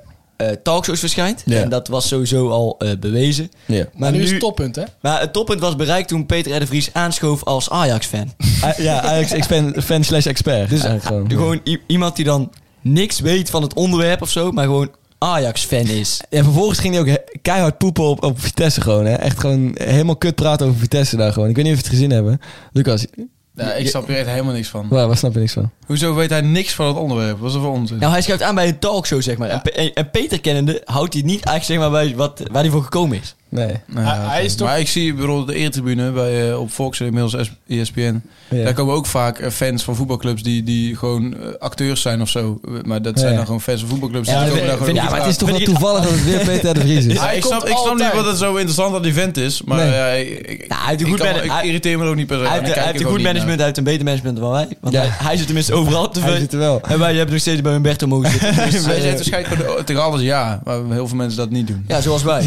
talkshows verschijnt. Ja. En dat was sowieso al eh, bewezen. niet. Ja. Dus Maar nu is het toppunt, hè? Maar het toppunt was bereikt toen Peter R. de Vries aanschoof als Ajax-fan. Ah, ja, Ajax fan, fan slash expert. Dus Dus eigenlijk gewoon. Gewoon i- iemand die dan niks weet van het onderwerp of zo, maar gewoon Ajax-fan is. En vervolgens ging hij ook he- keihard poepen op, op Vitesse gewoon. Hè? Echt gewoon helemaal kut praten over Vitesse daar gewoon. Ik weet niet of we het gezien hebben. Lucas, Ja, ik snap er echt helemaal niks van. waar, waar snap je niks van? Hoezo weet hij niks van het onderwerp? Wat is er voor onzin? Nou, hij schuift aan bij een talkshow, zeg maar. En, Pe- en, en Peter kennende houdt hij niet eigenlijk zeg maar, bij wat, waar hij voor gekomen is. Nee. Nou ja, Hij- oké. hij is toch- Maar ik zie bijvoorbeeld de eertribune bij, eh, op Fox en inmiddels S- ESPN. Ja. Daar komen ook vaak eh, fans van voetbalclubs die, die gewoon eh, acteurs zijn of zo. Eh, Maar dat zijn Ja. dan gewoon fans van voetbalclubs. Ja, die dat komen vind- daar gewoon vind op Ja, maar het is vragen. toch wel Vind ik- toevallig dat het weer Peter de Vries is. Ja, Hij ik komt snap, ik snap niet altijd. wat het zo interessant aan die vent is. Maar Nee. ja, ik, ik, Nou, hij heeft een ik goed kan wel- man- ik hij- irriteer me er ook niet per se aan. Hij Ik heeft, kijk hij er heeft een gewoon goed niet management, hij heeft een beter management dan wij. Want Ja. hij, hij zit tenminste overal op <laughs> de Hij zit er wel. En wij hebben nog steeds bij Humberto mogen zitten. naar. Dus, Hij eh, zegt waarschijnlijk gewoon tegen alles ja, maar heel veel mensen dat niet doen. ja, zoals wij.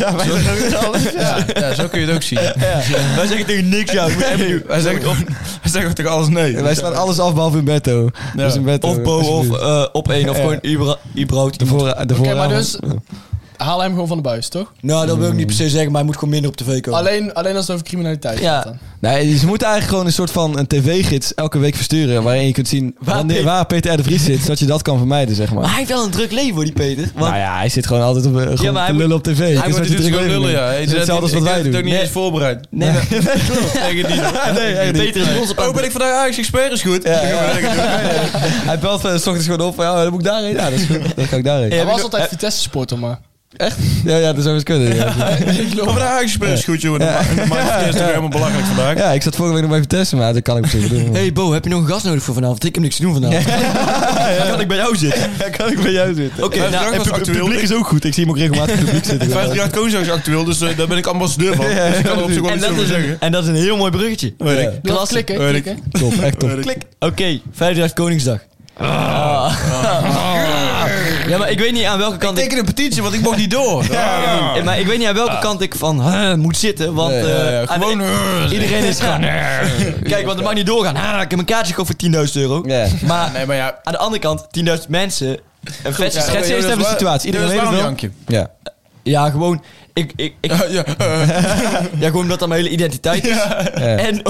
Ja, ja, zo kun je het ook zien. <laughs> Wij zeggen tegen niks, ja. je moet even doen. Wij zeggen, ook- wij zeggen ook tegen alles nee. Wij slaan alles af behalve Humberto. Dus Humberto Of Bo, of alsjeblieft. eh, op één, of Ja. gewoon überha- überhaupt. de voor, de vooravond. maar dus- Haal hem gewoon van de buis, toch? Nou, dat wil ik niet per se zeggen, maar hij moet gewoon minder op tv komen. Alleen, alleen als het over criminaliteit Ja. gaat. Dan. Nee, dus ze moeten eigenlijk gewoon een soort van een tv-gids elke week versturen. Waarin je kunt zien Waar wanneer, Pe- waar Peter R. de Vries zit. Zodat je dat kan vermijden, zeg Maar maar. hij heeft wel een druk leven, hoor, die Peter. Want nou ja, hij zit gewoon altijd op, eh, gewoon maar hij te moet- lullen op tv. Hij moet dit gewoon lullen, ja. Hij- dat- Hetzelfde als wat ik wij heb doen. het ook niet eens voorbereid. Nee, maar- <laughs> Tegen die. Nee, echt niet. Peter is onze Oh, ben ik vandaag Ajax expert is goed. Ja, ja, Hij belt van, s ochtends gewoon op van, ja, dan moet ik daarheen. Ja, dat is goed. Dan ga ik daarheen. Hij heb ik was nog- altijd Vitesse-sporter, maar... Ja, ja, dat zou eens kunnen. Ja. <laughs> Oh, vandaag Ajax expert is goed, joh. Dat ma- dat maakt het eerst toch helemaal belachelijk vandaag. ja, ik zat vorige week nog bij Vitesse, maar dat kan ik op zich doen. Hey Bo, heb je nog een gast nodig voor vanavond? Ik heb niks te doen vanavond. Dan kan <laughs> ik bij jou zitten. Ja, kan ik bij jou zitten. Oké, Vijf nou, drank en was pub- actueel. publiek is ook goed. Ik zie hem ook regelmatig in het publiek zitten. 50 jaar Koningsdag is actueel, dus eh, daar ben ik ambassadeur van. Dus ik kan er op zich wel En iets dat, over is zeggen. een, en dat is een heel mooi bruggetje. Weet ik. Doe dat Klasse. klikken, Weet ik. klikken. <laughs> Top, echt top. Weet ik. Oké, vijf dagen Koningsdag. Ah. <laughs> Ja, maar ik weet niet aan welke kant ik... Teken een petitie, want ik mocht niet <laughs> door. Ja. eh, Maar ik weet niet aan welke kant ik van huh, moet zitten, want Nee, eh, Ja, ja, aan de- gewoon... eh, iedereen <laughs> is gaan. Kijk, want het mag niet doorgaan. Ah, ik heb een kaartje gekocht voor 10.000 euro. Ja. Maar Nee, maar ja. aan de andere kant, 10.000 mensen. Een fest, Ja, schets eerst nee, dat even is de waar- situatie. dat Iedereen is weet het waarom, wel. Jankje. Ja. Ja, gewoon. Ik, ik, ik, ja, Ja, eh, <laughs> gewoon omdat dat mijn hele identiteit is. Ja. En,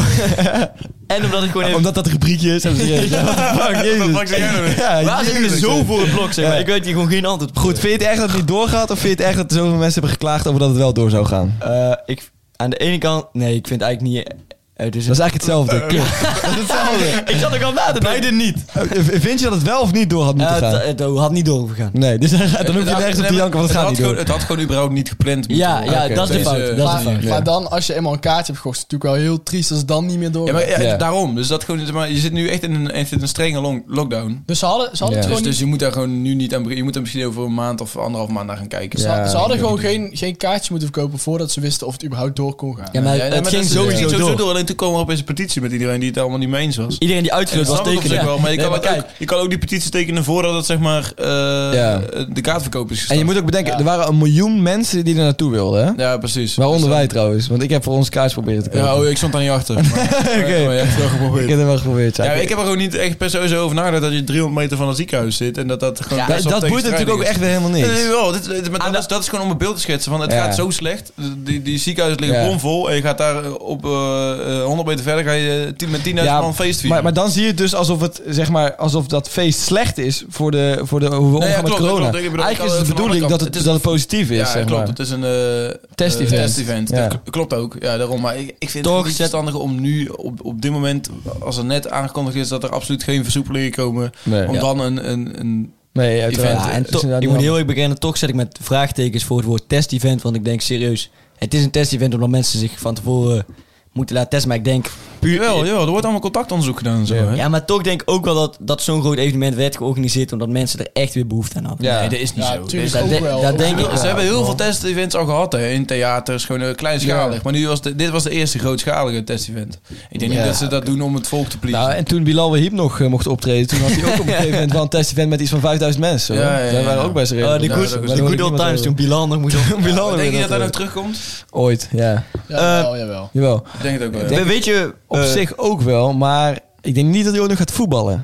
<laughs> en omdat ik gewoon even Omdat dat rubriekje is, hebben <laughs> ze gegeven. eh, Ja, wat de fuck, Wat Jezus. de fuck zeg jij nou weer? Ja, Waar zit je jezus. zo voor het blok, zeg maar? Ja. Ik weet hier gewoon geen antwoord op. Goed, vind je het echt dat het niet doorgaat? Of vind je het echt dat er zoveel mensen hebben geklaagd over dat het wel door zou gaan? Eh, ik, aan de ene kant... Nee, ik vind het eigenlijk niet... eh, dus Dat is eigenlijk hetzelfde. Klopt. <laughs> Dat is hetzelfde. ik zat ook al na te denken. niet. Eh, Vind je dat het wel of niet door had Eh, moeten het, gaan? het had niet doorgegaan. Nee, dus dan hoef je Het had- nergens op te nee, janken, want het gaat had niet gewoon- door. Het had gewoon überhaupt niet gepland moeten Ja, worden. ja oké, dat is de deze- fout. dat is de maar- fout. Maar, maar dan, als je eenmaal een kaartje hebt gekocht, is het natuurlijk wel heel triest als het dan niet meer door. Ja, maar ja, Ja. daarom. Dus dat gewoon, maar je zit nu echt in een, echt in een strenge long- lockdown. Dus ze hadden, ze hadden Ja. het Dus, gewoon dus je moet daar gewoon nu niet aan beginnen. Je moet er misschien over een maand of anderhalf maand naar gaan kijken. niet- ze- Ja, ze hadden ik gewoon geen, geen kaartje moeten verkopen voordat ze wisten of het überhaupt door kon gaan. Ja, maar Ja, nee, het maar ging dat is- het sowieso ging door. Alleen toen kwam er opeens een petitie met iedereen die het allemaal niet mee eens was. Iedereen die Dat uitgenodigd was snap ik op zich tekenen. wel, maar, je, Nee, kan maar ook, je kan ook die petitie tekenen voordat het zeg maar eh, Ja. de kaartverkoop is En gestart. je moet ook bedenken, Ja. er waren een miljoen mensen die er naartoe wilden, hè? Ja, precies. Dus- Waaronder wij trouwens, want ik heb voor ons kaars proberen te kopen. Ja, oh, ik stond aan je <laughs> achter. Oké. Maar Oh, je hebt het wel Ik geprobeerd. heb er wel geprobeerd, ja. Ja, ik heb er gewoon niet echt per se zo over nagedacht dat je 300 meter van een ziekenhuis zit en dat dat gewoon Ja, best dat wel dat boeit natuurlijk ook tegenstrijdig echt weer helemaal is. Nee, nee, niks. wel. Dit, dit- maar dat, is, dat is gewoon om een beeld te schetsen van het Ja. gaat zo slecht. Die, die ziekenhuizen liggen Ja. bomvol en je gaat daar eh, op eh, eh, 100 meter verder ga je eh, 10 met 10.000 man feest vieren. maar, maar dan zie je het dus alsof het, zeg maar, alsof dat feest slecht is voor, de, voor de, hoe we omgaan ja, met klopt, corona. klopt. Ik bedoel, ik kan Eigenlijk is het de het van de bedoeling andere dat kant. het, Het is dat het positief is, ja, zeg klopt. maar. Het is een eh, Test-event. eh, test-event. Ja. Dat k- klopt ook. Ja, daarom. Maar ik, ik vind Toch het niet zet- verstandig om nu op, op dit moment, als er net aangekondigd is dat er absoluut geen versoepelingen komen, Nee. om Ja. dan een, een, een Nee, uiteraard. event, Ja, en Het is toch- inderdaad ik niet moet handig. heel erg bekennen, toch zet ik met vraagtekens voor het woord test-event. Want ik denk serieus, het is een test-event omdat mensen zich van tevoren moeten laten testen. Maar ik denk, puur. Jawel, jawel, er wordt allemaal contactonderzoek gedaan en zo. Ja. Hè? ja, maar toch denk ik ook wel dat, dat zo'n groot evenement werd georganiseerd omdat mensen er echt weer behoefte aan hadden. Ja. Nee, dat is niet Ja, zo. Dat tuurlijk is- ook dat de- wel. dat denk Ze ik. hebben heel veel test-events al gehad, hè? in theaters, gewoon eh, kleinschalig. Ja. Maar nu was de- dit was de eerste grootschalige test-event. Ik denk Ja. niet dat ze dat doen om het volk te pleasen. Nou, en toen Bilal Wahib nog eh, mocht optreden, toen had hij <laughs> ook op een gegeven moment wel een test-event met iets van 5000 mensen. hoor. Ja, ja, Oh, ja. Daar waren ook best redelijk. de Ja, good, dat is- de good old times toen Bilan nog <laughs> moest op. Ja, maar denk weer je dat hij dat nog terugkomt? Ooit, ja. Ja, jawel, jawel. Jawel. Ik denk het ook wel. denk- We- Weet je, Op eh, zich ook wel, maar ik denk niet dat hij ook nog gaat voetballen.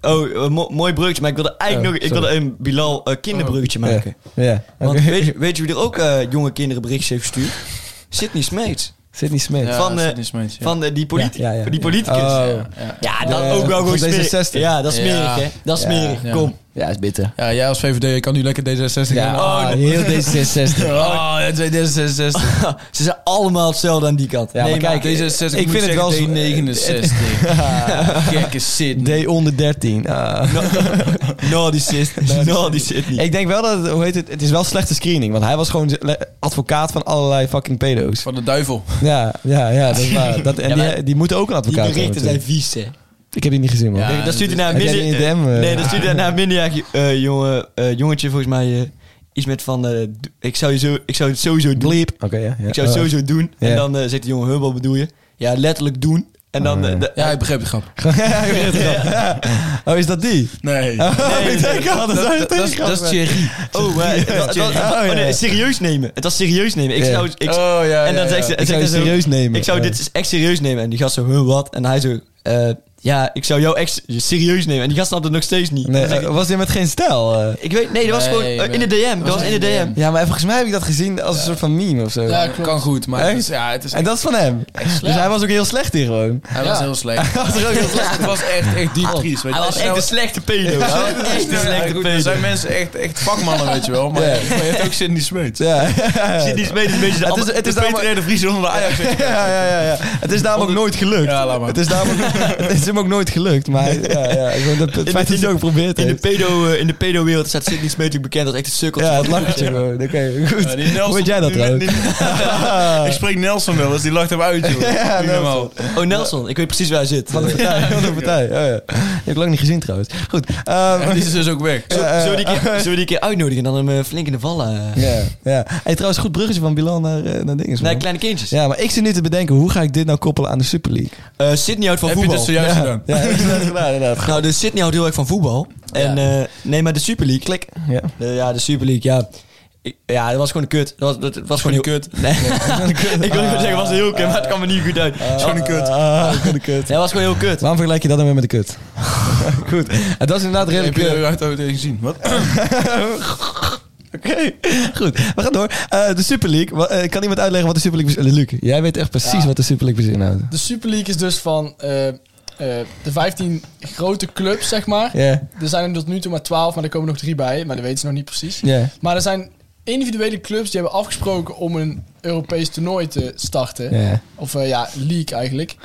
Oh, eh, mo- mooi bruggetje, maar ik wilde eigenlijk Oh, nog ik wilde een Bilal eh, kinderbruggetje maken. Ja. ja. Want Oké. weet, je- weet je wie er ook eh, jonge kinderen berichtjes heeft <laughs> gestuurd? Sydney Smeets. Sydney Smith. Ja, Ja. van, eh, Sidney Smeets, ja. Van eh, die, politi- Ja, ja, ja. die politicus. Oh. Ja, dat Ja, ook wel van gewoon smerig. D66. Ja, dat is smerig, Ja. hè. Dat is Ja. smerig. Ja. Kom. Ja, is bitter. Ja, jij als VVD kan nu lekker D66 Ja, gaan. Oh, ah, heel D66. Oh, het is D66. <laughs> Ze zijn allemaal hetzelfde aan die kant. Ja, maar kijk, D66, ik vind het wel zo- D69. eh, <laughs> Gekke shit. <laughs> D onder 13. Ah. <laughs> No, die <laughs> zit No, die zit niet. Ik denk wel dat, het- hoe heet het, het is wel slechte screening. Want hij was gewoon le- advocaat van allerlei fucking pedo's. Van de duivel. Ja, ja, ja, dat is <laughs> waar. Dat, en Oh. Ja, maar- die, die moeten ook een Die advocaat hebben. berichten zijn natuurlijk. vies, hè. dus- Ik heb die niet gezien, man. Ja, dan stuurt hij naar een Heb jij die in minder- de DM, eh? Nee, dan stuurt hij <laughs> naar een minderjarig eh, jongen, eh, jongetje volgens mij eh, iets met van... eh, d- ik, zou je zo, ik zou het sowieso doen. Oké, ja, ja. Ik zou het Oh, sowieso doen. Ja. En dan eh, zegt de jongen, huh, wat bedoel je? Ja, letterlijk doen. En dan... Oh, ja. eh, de- <laughs> Ja, ik begreep de grap. ja, ik weet het wel. Ja. Oh, is dat die? Nee. Oh, nee, ik denk al, dat zou dat, het dat, is- tegengaan. dat is Thierry. oh, eh, het was- het was- het was- Oh, ja. oh, nee, serieus nemen. Het was serieus nemen. Ik Ja. zou... Ik, oh, ja, en dan ja, zegt ja. ze- Ik zou je zegt hij zo, serieus nemen. Ik zou Ja. dit dus echt serieus nemen. En die gast zo, huh, wat? En hij zo, eh, ja, ik zou jou echt serieus nemen. En die gast snapt het nog steeds niet. Nee, Dan zeg ik, eh, was dit met geen stijl? eh? ik weet, nee, dat was Nee, gewoon eh, maar- in de DM. Dat was in de DM. Ja, maar volgens mij heb ik dat gezien als een soort van meme of zo. Ja, klopt. Kan goed, maar het Echt? is, ja, het is en dat is van hem. Dus hij was ook heel slecht hier gewoon. Hij was Ja. heel slecht. Hij was <laughs> heel slecht. Het was echt, echt diep triest. Weet je. Hij was echt een slechte pedo. Hij was echt een Ja, slechte goed, Er pedo. zijn mensen echt, echt vakmannen, weet je wel. Maar Ja. maar je hebt ook zin die smeet. Ja. Zit die smeden een beetje de Het is- ander- het is de allemaal- Peter R. de Vries onder de Ajax. <laughs> Ja, ja, ja, ja. Het is namelijk nooit gelukt. Ja, laat maar. Het is, namelijk, <laughs> het is hem ook nooit gelukt. Maar hij- ja, ja, ik bedoel, het, het de- feit dat hij het ook geprobeerd In de heeft. pedo, eh, in de pedo-wereld staat Sidney Smeet bekend als echt een sukkeltje. Ja, het lachertje gewoon. Oké, goed. Ja, die Nelson- Hoe weet jij dat die- trouwens? Ah. die- <laughs> <laughs> Ik spreek Nelson wel eens, die lacht hem uit, joh. Ja, Niet normaal. Oh, Nelson, ik weet precies waar hij zit. Van de <laughs> partij, van de partij. Oh, ja. Die heb ik lang niet gezien trouwens. Goed. ehm, En die is dus ook weg. Zo- Zullen we die keer- zullen we die een keer uitnodigen en dan hem eh, flink in de vallen? eh? ja, ja. Hey, trouwens, goed bruggetje van Bilal naar, eh, naar dinges. Nee, man. kleine kindjes. Ja, maar ik zit nu te bedenken, hoe ga ik dit nou koppelen aan de Super League? Eh, Sidney houdt van Heb je voetbal. dit zojuist gedaan? Ja, ik heb dat gedaan, inderdaad. Nou, de Sydney houdt heel erg van voetbal. En eh, nee, maar de Super League. Klik. Ja. De- ja, de Super League, ja. Ik- ja, dat was gewoon een kut. Dat was, dat, dat was gewoon heel kut. Nee. <laughs> ik wil niet meer zeggen, was heel kut, maar het <laughs> kwam me niet goed uit. Het is gewoon een kut. Ah, ik ben de kut. Nee, het was gewoon heel kut. Waarom vergelijk je dat dan weer met de kut? <laughs> Goed. En dat is inderdaad Heb redelijk... je eh, eruit ooit gezien? Wat? Oké, <laughs> goed. We gaan door. Eh, de Super League. Wa- eh, kan iemand uitleggen wat de Super League... precies- Luc, jij weet echt precies Ja. wat de Super League precies inhoudt. De Super League is dus van eh, eh, de 15 grote clubs, zeg maar. Ja, Er zijn er tot nu toe maar 12, maar er komen nog drie bij. Maar dat weten ze nog niet precies. ja. Maar er zijn individuele clubs die hebben afgesproken om een Europees toernooi te starten. ja. Of eh, ja, league eigenlijk.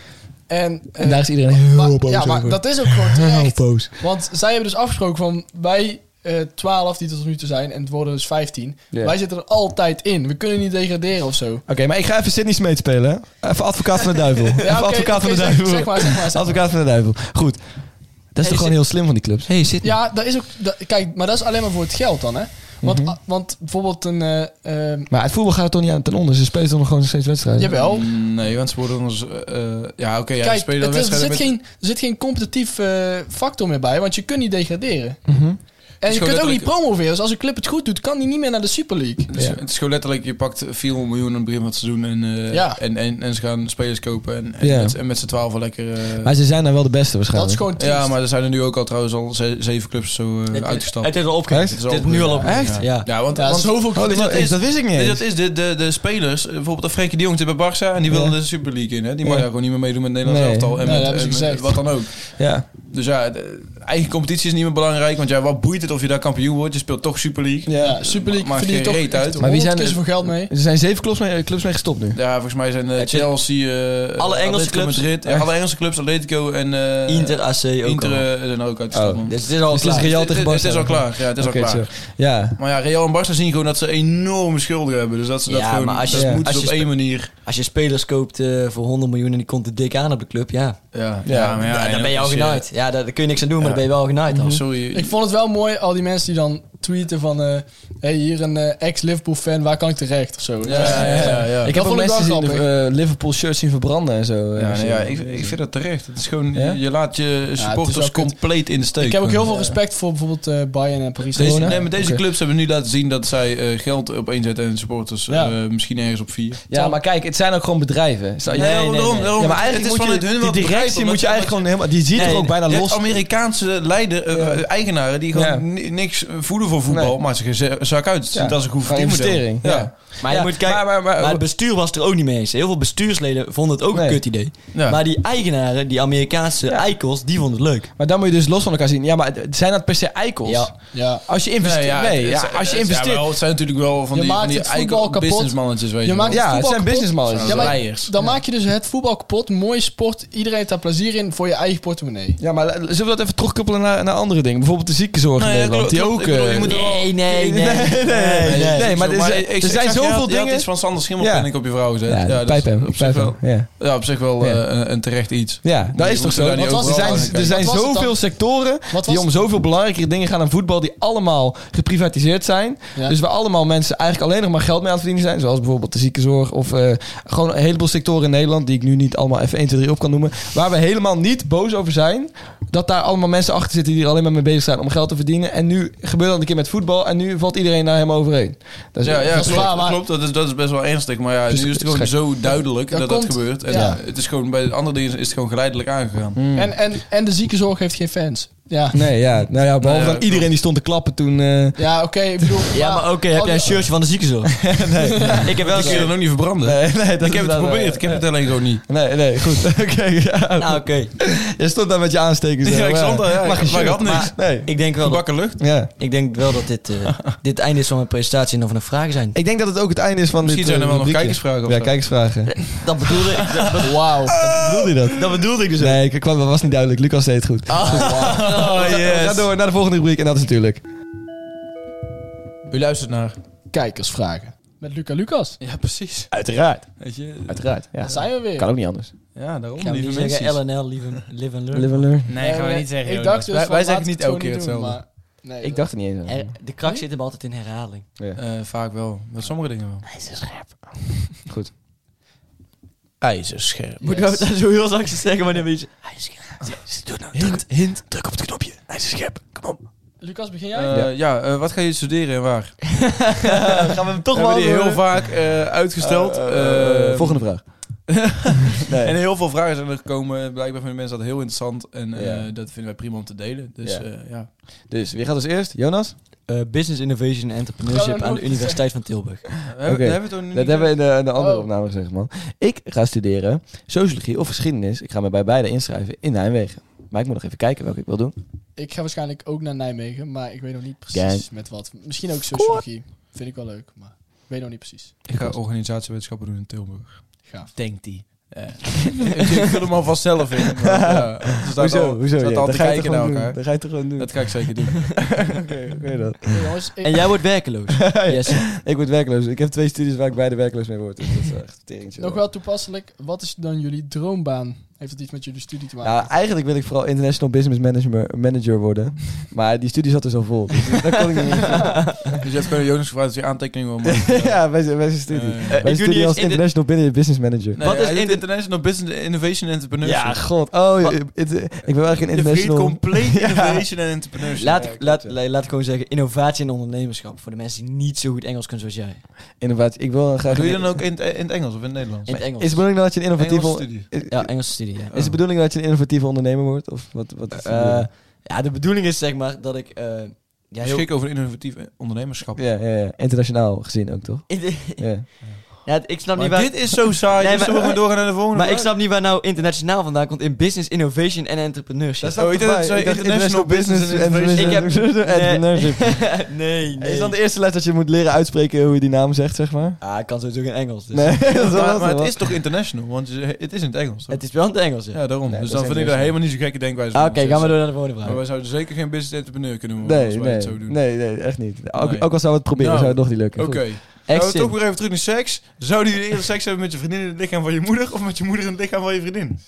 En, eh, En daar is iedereen heel maar- boos Ja, maar over. dat is ook gewoon Heel terecht. boos. Want zij hebben dus afgesproken van wij eh 12 die er tot nu toe zijn en het worden dus 15. Ja. Wij zitten er altijd in. We kunnen niet degraderen of zo. Oké, maar ik ga even Sydney Smeet spelen. hè. Even advocaat van de <laughs> duivel. even oké, advocaat van de oké, zeg- duivel. Zeg maar, zeg maar, zeg maar. Advocaat van de duivel. Goed. Dat is toch gewoon heel slim van die clubs? hey, Sydney. Ja, dat is ook. dat- kijk, maar dat is alleen maar voor het geld dan, hè? Want, Mhm. a- want bijvoorbeeld een. eh, ehm, Maar het voetbal gaat er toch niet aan ten onder. Ze spelen toch nog gewoon nog steeds wedstrijden? jawel. <clears throat> Nee, want ze worden ons... eh, eh, ja, oké, ja, ze Oh. Kijk, spelen dan het is- er, wedstrijden zit met... geen, er zit geen competitief eh, factor meer bij, want je kunt niet degraderen. Mhm. En is je gewoon kunt ook niet letterlijk- promoveren. Dus als een club het goed doet, kan die niet meer naar de Super League. Dus Het is gewoon letterlijk, je pakt 400 miljoen aan het begin van het seizoen en, eh, Ja. en, en, en ze gaan spelers kopen en, en Ja. met, en met z'n twaalf lekker... eh, Maar ze zijn dan wel de beste Dat waarschijnlijk. is gewoon triest. ja, maar er zijn er nu ook al trouwens al ze- zeven clubs zo eh, uitgestapt. Het is al opgegeven. Het Het is is, al nu al opgegeven. opgegeven. Echt? Ja. Ja, want, Ja, want zoveel Oh, clubs. dat, dat is- dat wist ik niet Nee, eens. dat is de, de, de spelers. eh, Bijvoorbeeld dat Frenkie de Jong zit bij Barca en die wil Ja. de Super League in. Hè? Die mag Ja. daar gewoon niet meer meedoen met het Nederlands Nee. elftal en Nee, met dat hebben ze en met gezegd. wat dan ook. Ja. Dus ja, de eigen competitie is niet meer belangrijk. Want ja, wat boeit het of je daar kampioen wordt? Je speelt toch Super League. ja. Ja, Super League Maakt verdien je geen toch reet uit. Maar Maar wie zijn er er- voor geld mee? Er zijn zeven clubs mee, clubs mee gestopt nu. Ja, volgens mij zijn eh, Het is- Chelsea, eh, Alle Engelse Atletico clubs. Madrid, eh, Echt? alle Engelse clubs, Atletico en eh, Inter AC ook Inter al. eh, zijn er ook uit. Oh, Oh, het, Dus het is al Dus het is klaar. Real tegen het- het is Barca. al klaar. Ja, het is Oké, al klaar. zo. Ja. Maar ja, Real en Barca zien gewoon dat ze enorme schulden hebben. Dus dat ze dat Ja, gewoon maar als je- dat ja. moeten ze als je op één spe- manier. Als je spelers koopt eh, voor 100 miljoen en die komt er dik aan op de club, ja. Ja, Ja, maar ja en dan ben je ook al als genaaid. Ja, daar, daar kun je niks aan doen, maar Ja. Mhm. dan ben je wel genaaid al. Oh, Sorry. Ik vond het wel mooi, al die mensen die dan tweeten van... eh, hey, hier een eh, ex-Liverpool-fan, waar kan ik terecht? Of zo. ja, ja, ja, ja. Ik Dat heb ook vond ik mensen wel die grappig. eh, Liverpool shirts zien verbranden en zo. eh, Ja, zo. nee, ja ik, ik vind dat terecht. Het is gewoon, Ja? je, je laat je supporters wel kut. compleet in de steek. Ik heb ook heel gewoon. veel respect voor bijvoorbeeld eh, Bayern en Paris Deze, Corona? nee, maar deze Oké. clubs hebben nu laten zien dat zij eh, geld opeenzetten en supporters Ja. eh, misschien ergens op vier. Ja, maar kijk, het zijn ook gewoon bedrijven. Sta- Nee, daarom, daarom. Ja, maar Het eigenlijk is moet vanuit je, hun die wel begrijpen, directie omdat moet je ze- eigenlijk gewoon helemaal... Die ziet Nee, er ook bijna Je hebt los. Amerikaanse leider, eh, Ja. eh, eigenaren die gewoon Ja. ni- niks voelen voor voetbal, Nee. maar ze, ze- ze zak uit. Ja, Dat is een goed gewoon investering. verdienmodel. Ja. Maar je Ja, moet kijken, maar- maar, maar- maar- het bestuur was het er ook niet mee eens. Heel veel bestuursleden vonden het ook Nee. een kut idee. Ja. Maar die eigenaren, die Amerikaanse eikels, die vonden het leuk. Maar dan moet je dus los van elkaar zien. Ja, maar het- zijn dat per se eikels? Ja. Ja. Als je investeert... Nee, ja, het- het- als je het- investeert... Ja, wel, het zijn natuurlijk wel van Je die, van maakt die het voetbal eikel- kapot. businessmannetjes, weet Je je wel. maakt Ja, het voetbal zijn kapot. businessmannetjes. Ja, maar Leiers. dan maak je dus het voetbal kapot. Mooie sport. Iedereen heeft daar plezier in voor je eigen portemonnee. Ja, maar zullen we dat even terugkoppelen naar, naar andere dingen? Bijvoorbeeld de ziekenzorg Nee, in ja, Nederland. klopt, klopt. die ook... Ik bedoel, je eh, moet er wel- Nee, nee, <laughs> nee. nee, nee, nee. nee. maar er zijn- er zijn zag, je zoveel had- je had dingen- iets van Sander Schimmelpenninck op je vrouw gezet. ja, dat is pijp hem, op zich pijp hem, wel- Ja. Ja, op zich wel Ja. eh, een, een terecht iets. Ja, dat Je is toch moet zo? daar niet Want overal er aan zijn, kijken. er zijn Wat was het zoveel dan? sectoren was die om het? zoveel belangrijke dingen gaan aan voetbal... die allemaal geprivatiseerd zijn. Ja. Dus waar allemaal mensen eigenlijk alleen nog maar geld mee aan het verdienen zijn. Zoals bijvoorbeeld de ziekenzorg of eh, gewoon een heleboel sectoren in Nederland... die ik nu niet allemaal even 1, 2, 3 op kan noemen. Waar we helemaal niet boos over zijn. Dat daar allemaal mensen achter zitten die er alleen maar mee bezig zijn om geld te verdienen. En nu gebeurt dat een keer met voetbal en nu valt iedereen daar helemaal overheen. Dus Dat is Ja, ja Dat is klopt, waar, maar- klopt. Dat is, dat is best wel ernstig. Maar ja, Dus- nu is het is gewoon gek. zo duidelijk Dat dat dat komt- gebeurt. En ja. Hmm. het is gewoon, bij de andere dingen is het gewoon geleidelijk aangegaan. En, en, en de ziekenzorg heeft geen fans. Ja, Nee, ja. Nou ja, behalve Nou ja, dan iedereen die stond te klappen toen... eh, <laughs> ja oké. ik bedoel, Ja, maar oké, heb jij een shirtje van de <laughs> ziekenzorg? nee. Ik heb wel een Dat kun je keer... dan Dus ook niet verbranden. Nee, nee, dat ik heb is het wel- geprobeerd. Ik heb het alleen gewoon niet. Nee, nee, goed. <laughs> Oké, ja. Nou, oké. Je stond daar met je aanstekers. Ja, hè? ik stond daar, ja. Mag je Maar ik had shirt. niks. Nee. Ik denk wel dat, Gebakken lucht. Ja. ik denk wel dat <laughs> dit, eh, dit het einde is van mijn presentatie en of er nog vragen zijn. Ik denk dat het ook het einde is van Misschien eh, dit zijn er wel nog rubriekje. kijkersvragen of Ja, zo. kijkersvragen. <laughs> Dat bedoelde ik. Dat, <laughs> dat- Wauw. Bedoelde je dat? dat bedoelde ik dus ook. Nee, ik kwam, dat was niet duidelijk. Lucas deed het goed. Oh, We gaan yes. door naar de volgende rubriek en dat is natuurlijk... U luistert naar. Kijkersvragen. Met Luca Lucas. Ja, precies. Uiteraard. Weet je, Uiteraard, ja. Daar zijn we weer. ook niet anders. ja, daarom. Ik ga niet lieve zeggen mensen. LNL, live and, live and learn. Live and learn. Nee, gaan we niet zeggen, Ik Jonas. dacht dus Wij- van, wij zeggen laten we niet het elke gewoon keer niet doen, hetzelfde. maar- nee, Ik dat- dacht er niet eens aan. Er- Eh, de kracht zit hem altijd in herhaling. Eh, vaak wel. Met sommige dingen wel. <laughs> IJzerscherp. Moeten we dat zo heel zachtjes zeggen wanneer we iets... Hij is Hint, hint. Druk op het knopje. Hij is schep. Kom op. Lucas, begin jij? Eh, ja, eh, wat ga je studeren en waar? gaan we hem toch We hebben die heel vaak eh, uitgesteld. Eh, Volgende vraag. En heel veel vragen zijn er gekomen. Blijkbaar vinden mensen dat heel interessant. En eh, Ja. dat vinden wij prima om te delen. Dus Ja. eh, ja. Dus, wie gaat als eerst? Jonas? Eh, Business Innovation and Ja, Entrepreneurship dat aan de moet- Universiteit van Tilburg. Hebben- Oké. hebben we het ook Dat niet- hebben we in de, in de andere Oh. opname gezegd, man. Ik ga studeren sociologie of geschiedenis. Ik ga me bij beide inschrijven in Nijmegen. Maar ik moet nog even kijken welke ik wil doen. Ik ga waarschijnlijk ook naar Nijmegen, maar ik weet nog niet precies met wat. Misschien ook sociologie. Vind ik wel leuk, maar ik weet nog niet <laughs> precies. Ik ga organisatiewetenschappen doen in Tilburg. Gaaf. Denkt die. <laughs> ik vul hem alvast zelf in. Maar, ja, ze staat al, ze staat al te kijken naar elkaar. Dat ga je toch gewoon doen? Dat ga ik zeker doen. Oké, oké dan. Hey, jongens, ik- En jij wordt <laughs> werkeloos. Yes. Ik word werkloos. Ik heb twee studies waar ik beide werkloos mee word. Dus dat is echt teringtje. nog wel toepasselijk. Wat is dan jullie droombaan? Heeft het iets met jullie studie te maken? Nou, eigenlijk wil ik vooral international business manager, manager worden. Maar die studie zat dus al vol. Dus dat kon ik niet. <laughs> Dus je hebt gewoon Jonas gevraagd dat hij aantekeningen <laughs> wil maken. ja, bij zijn bij zijn studie. Bij Eh, zijn ik doe niet studie eens als in de- international business manager. Nee, Wat is hij doet inter- International Business Innovation and Entrepreneurship? Ja, god. Oh, Wat- je- het- ik ben wel eigenlijk een Je verdient international... compleet Innovation and Entrepreneurship. Laat, laat, laat, laat ik gewoon zeggen, innovatie en ondernemerschap. Voor de mensen die niet zo goed Engels kunnen zoals jij. Innovatie. Ik wil graag... Doe je dan ook in, het- eh, in het Engels of in het Nederlands? In het Engels. Is het bedoeling dat je een innovatieve... Engelse studie. Is, Oh. Ja, Engelse studie. Ja. is de bedoeling dat je een innovatieve ondernemer wordt? Of wat, wat is de bedoeling? Eh, ja, de bedoeling is zeg maar dat ik... eh ja, heel... Schik over innovatief ondernemerschap. ja, ja, ja. Internationaal gezien ook, toch? <laughs> ja, Ja. het- ik snap Maar niet waar... dit is zo Nee, saai. dus maar- zullen we gewoon doorgaan naar de volgende Maar ik vraag? snap niet waar nou internationaal vandaan komt in business, innovation en entrepreneurship. is- Oh, ik dacht dat het Ik dacht zei international business and <laughs> innovation. Ik heb- <laughs> Nee. entrepreneurship. nee, nee. Is dan de eerste les dat je moet leren uitspreken hoe je die naam zegt, zeg maar? <laughs> Ah, ik kan sowieso geen Engels. Dus. Nee, dat is wel maar, lastig, maar het man. is toch international? Want je- het is in het Engels, toch? Het is wel in het Engels, ja. Ja, daarom. Nee, dus dat dan is vind Engels. ik dat helemaal niet zo gekke denkwijze. Ah, van Oké, ons. gaan we door naar de volgende Maar vraag. wij zouden zeker geen business entrepreneur kunnen worden Nee, als wij nee, het zo doen. nee, nee, echt niet. Ook, Nee. ook al zou we het proberen, Nou, zou het nog niet lukken. Oké. Goed. Gaan Echt we toch zin. weer even terug naar seks. Zouden jullie eerder seks hebben met je vriendin in het lichaam van je moeder... of met je moeder in het lichaam van je vriendin?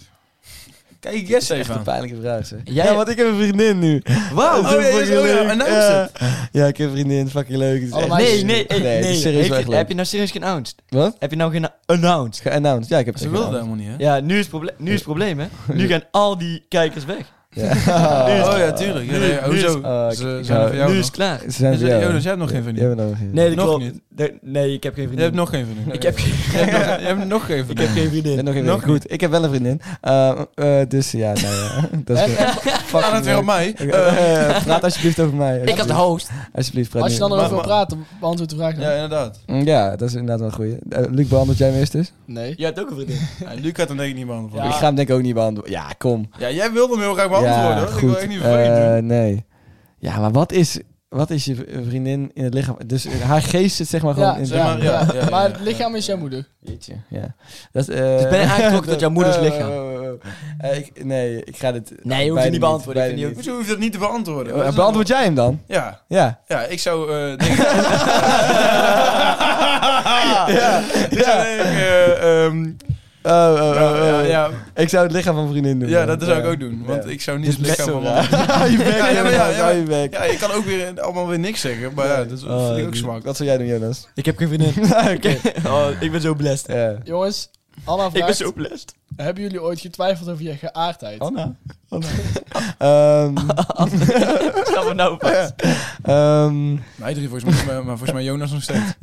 Kijk, yes Echt even een aan. pijnlijke vraag, zeg. Jij- Ja, want ik heb een vriendin nu. Wauw! Oh, ja, ja, oh, ja, en nou is het. Ja. Ja, ik heb een vriendin, fucking leuk. Het is Allemaal- echt- Nee, nee, nee. Nee, het is serieus Heeft- wel echt leuk. Heb je nou serieus geannounced? Wat? Heb je nou geen announced? Geannounced. Ja, ik heb het Ze echt wilden dat geannounced. helemaal niet, hè? Ja, nu is, het proble- nu is het probleem, hè? Nu gaan al die kijkers weg. Ja. oh ja, tuurlijk. Ja, Nu- nee, nu hoezo? is- Ah, ze kijk, zijn er voor eh, jou nu is nog. het klaar. Ze zijn Ja, voor jij jou. hebt er nog geen van die. Jij bent er nog geen. Nee, dat Nog klopt. niet. Nee, nee, ik heb geen Je vriendin. hebt nog geen vriendin. Ik heb <laughs> geen, Je hebt nog- je hebt nog geen ik vriendin. heb geen Ik ben vriendin. nog geen Nog vriendin. Goed, ik heb wel een vriendin. Eh, eh, dus ja, nou <laughs> ja. dat is goed. Fucking Gaat het weer leuk. op mij? Oké, eh, praat alsjeblieft over mij. Ik had de host. Alsjeblieft, praat Als je niet- dan erover wil maar- praten, beantwoord de vraag dan. Ja, inderdaad. Mm, Ja, dat is inderdaad wel een goeie. Eh, Luc, beantwoord jij hem eerst dus? Nee. Jij hebt ook een vriendin. <laughs> Ja, Luc had hem denk ik niet beantwoord. Ja. Ik ga hem denk ik ook niet beantwoorden. Ja, kom. Ja, jij wilde hem heel graag beantwoorden. ja, hoor. Ik wil echt niet vervelend Eh, doen. nee. Ja, maar wat is, wat is je v- vriendin in het lichaam? Dus haar geest zit zeg maar gewoon Ja, in zeg maar, ja, ja, ja, Maar ja. het lichaam is jouw moeder. Jeetje, ja. Dat is, eh, <laughs> Dus ben je aangetrokken tot jouw moeders lichaam? eh, eh, eh, eh, ik, nee, ik ga dit... Nou, Nee, je bijna hoeft het niet beantwoorden. Ik bijna vind die niet. Hoezo hoef je dat niet te beantwoorden? Eh, Beantwoord jij hem dan? Ja, Ja. ja ik zou eh <laughs> denken... <laughs> Ja. Ik zou denken... eh, ehm, Oh, oh, oh, nou, ja, oh. ja, Ik zou het lichaam van vriendin doen. ja, man. dat zou ik Ja. ook doen. Want Ja. ik zou niet Dus het lichaam zo van raar. <laughs> Hou je bek, Ja, ja, maar ja, inderdaad, ja. hou je bek. Ja, je kan ook weer allemaal weer niks zeggen. Maar ja, dat is- Oh, vind ik ook smak. Wat zou jij doen, Jonas? Ik heb geen vriendin. <laughs> Ik heb- oh, ik ben zo blessed. Ja. Jongens, <laughs> Anna Ik ben vraagt, zo blessed. hebben jullie ooit getwijfeld over je geaardheid? Anna. <laughs> Ehm, Snap het nou pas. ehm, Mij drie volgens mij, maar- maar volgens mij Jonas nog <laughs> steeds. <laughs>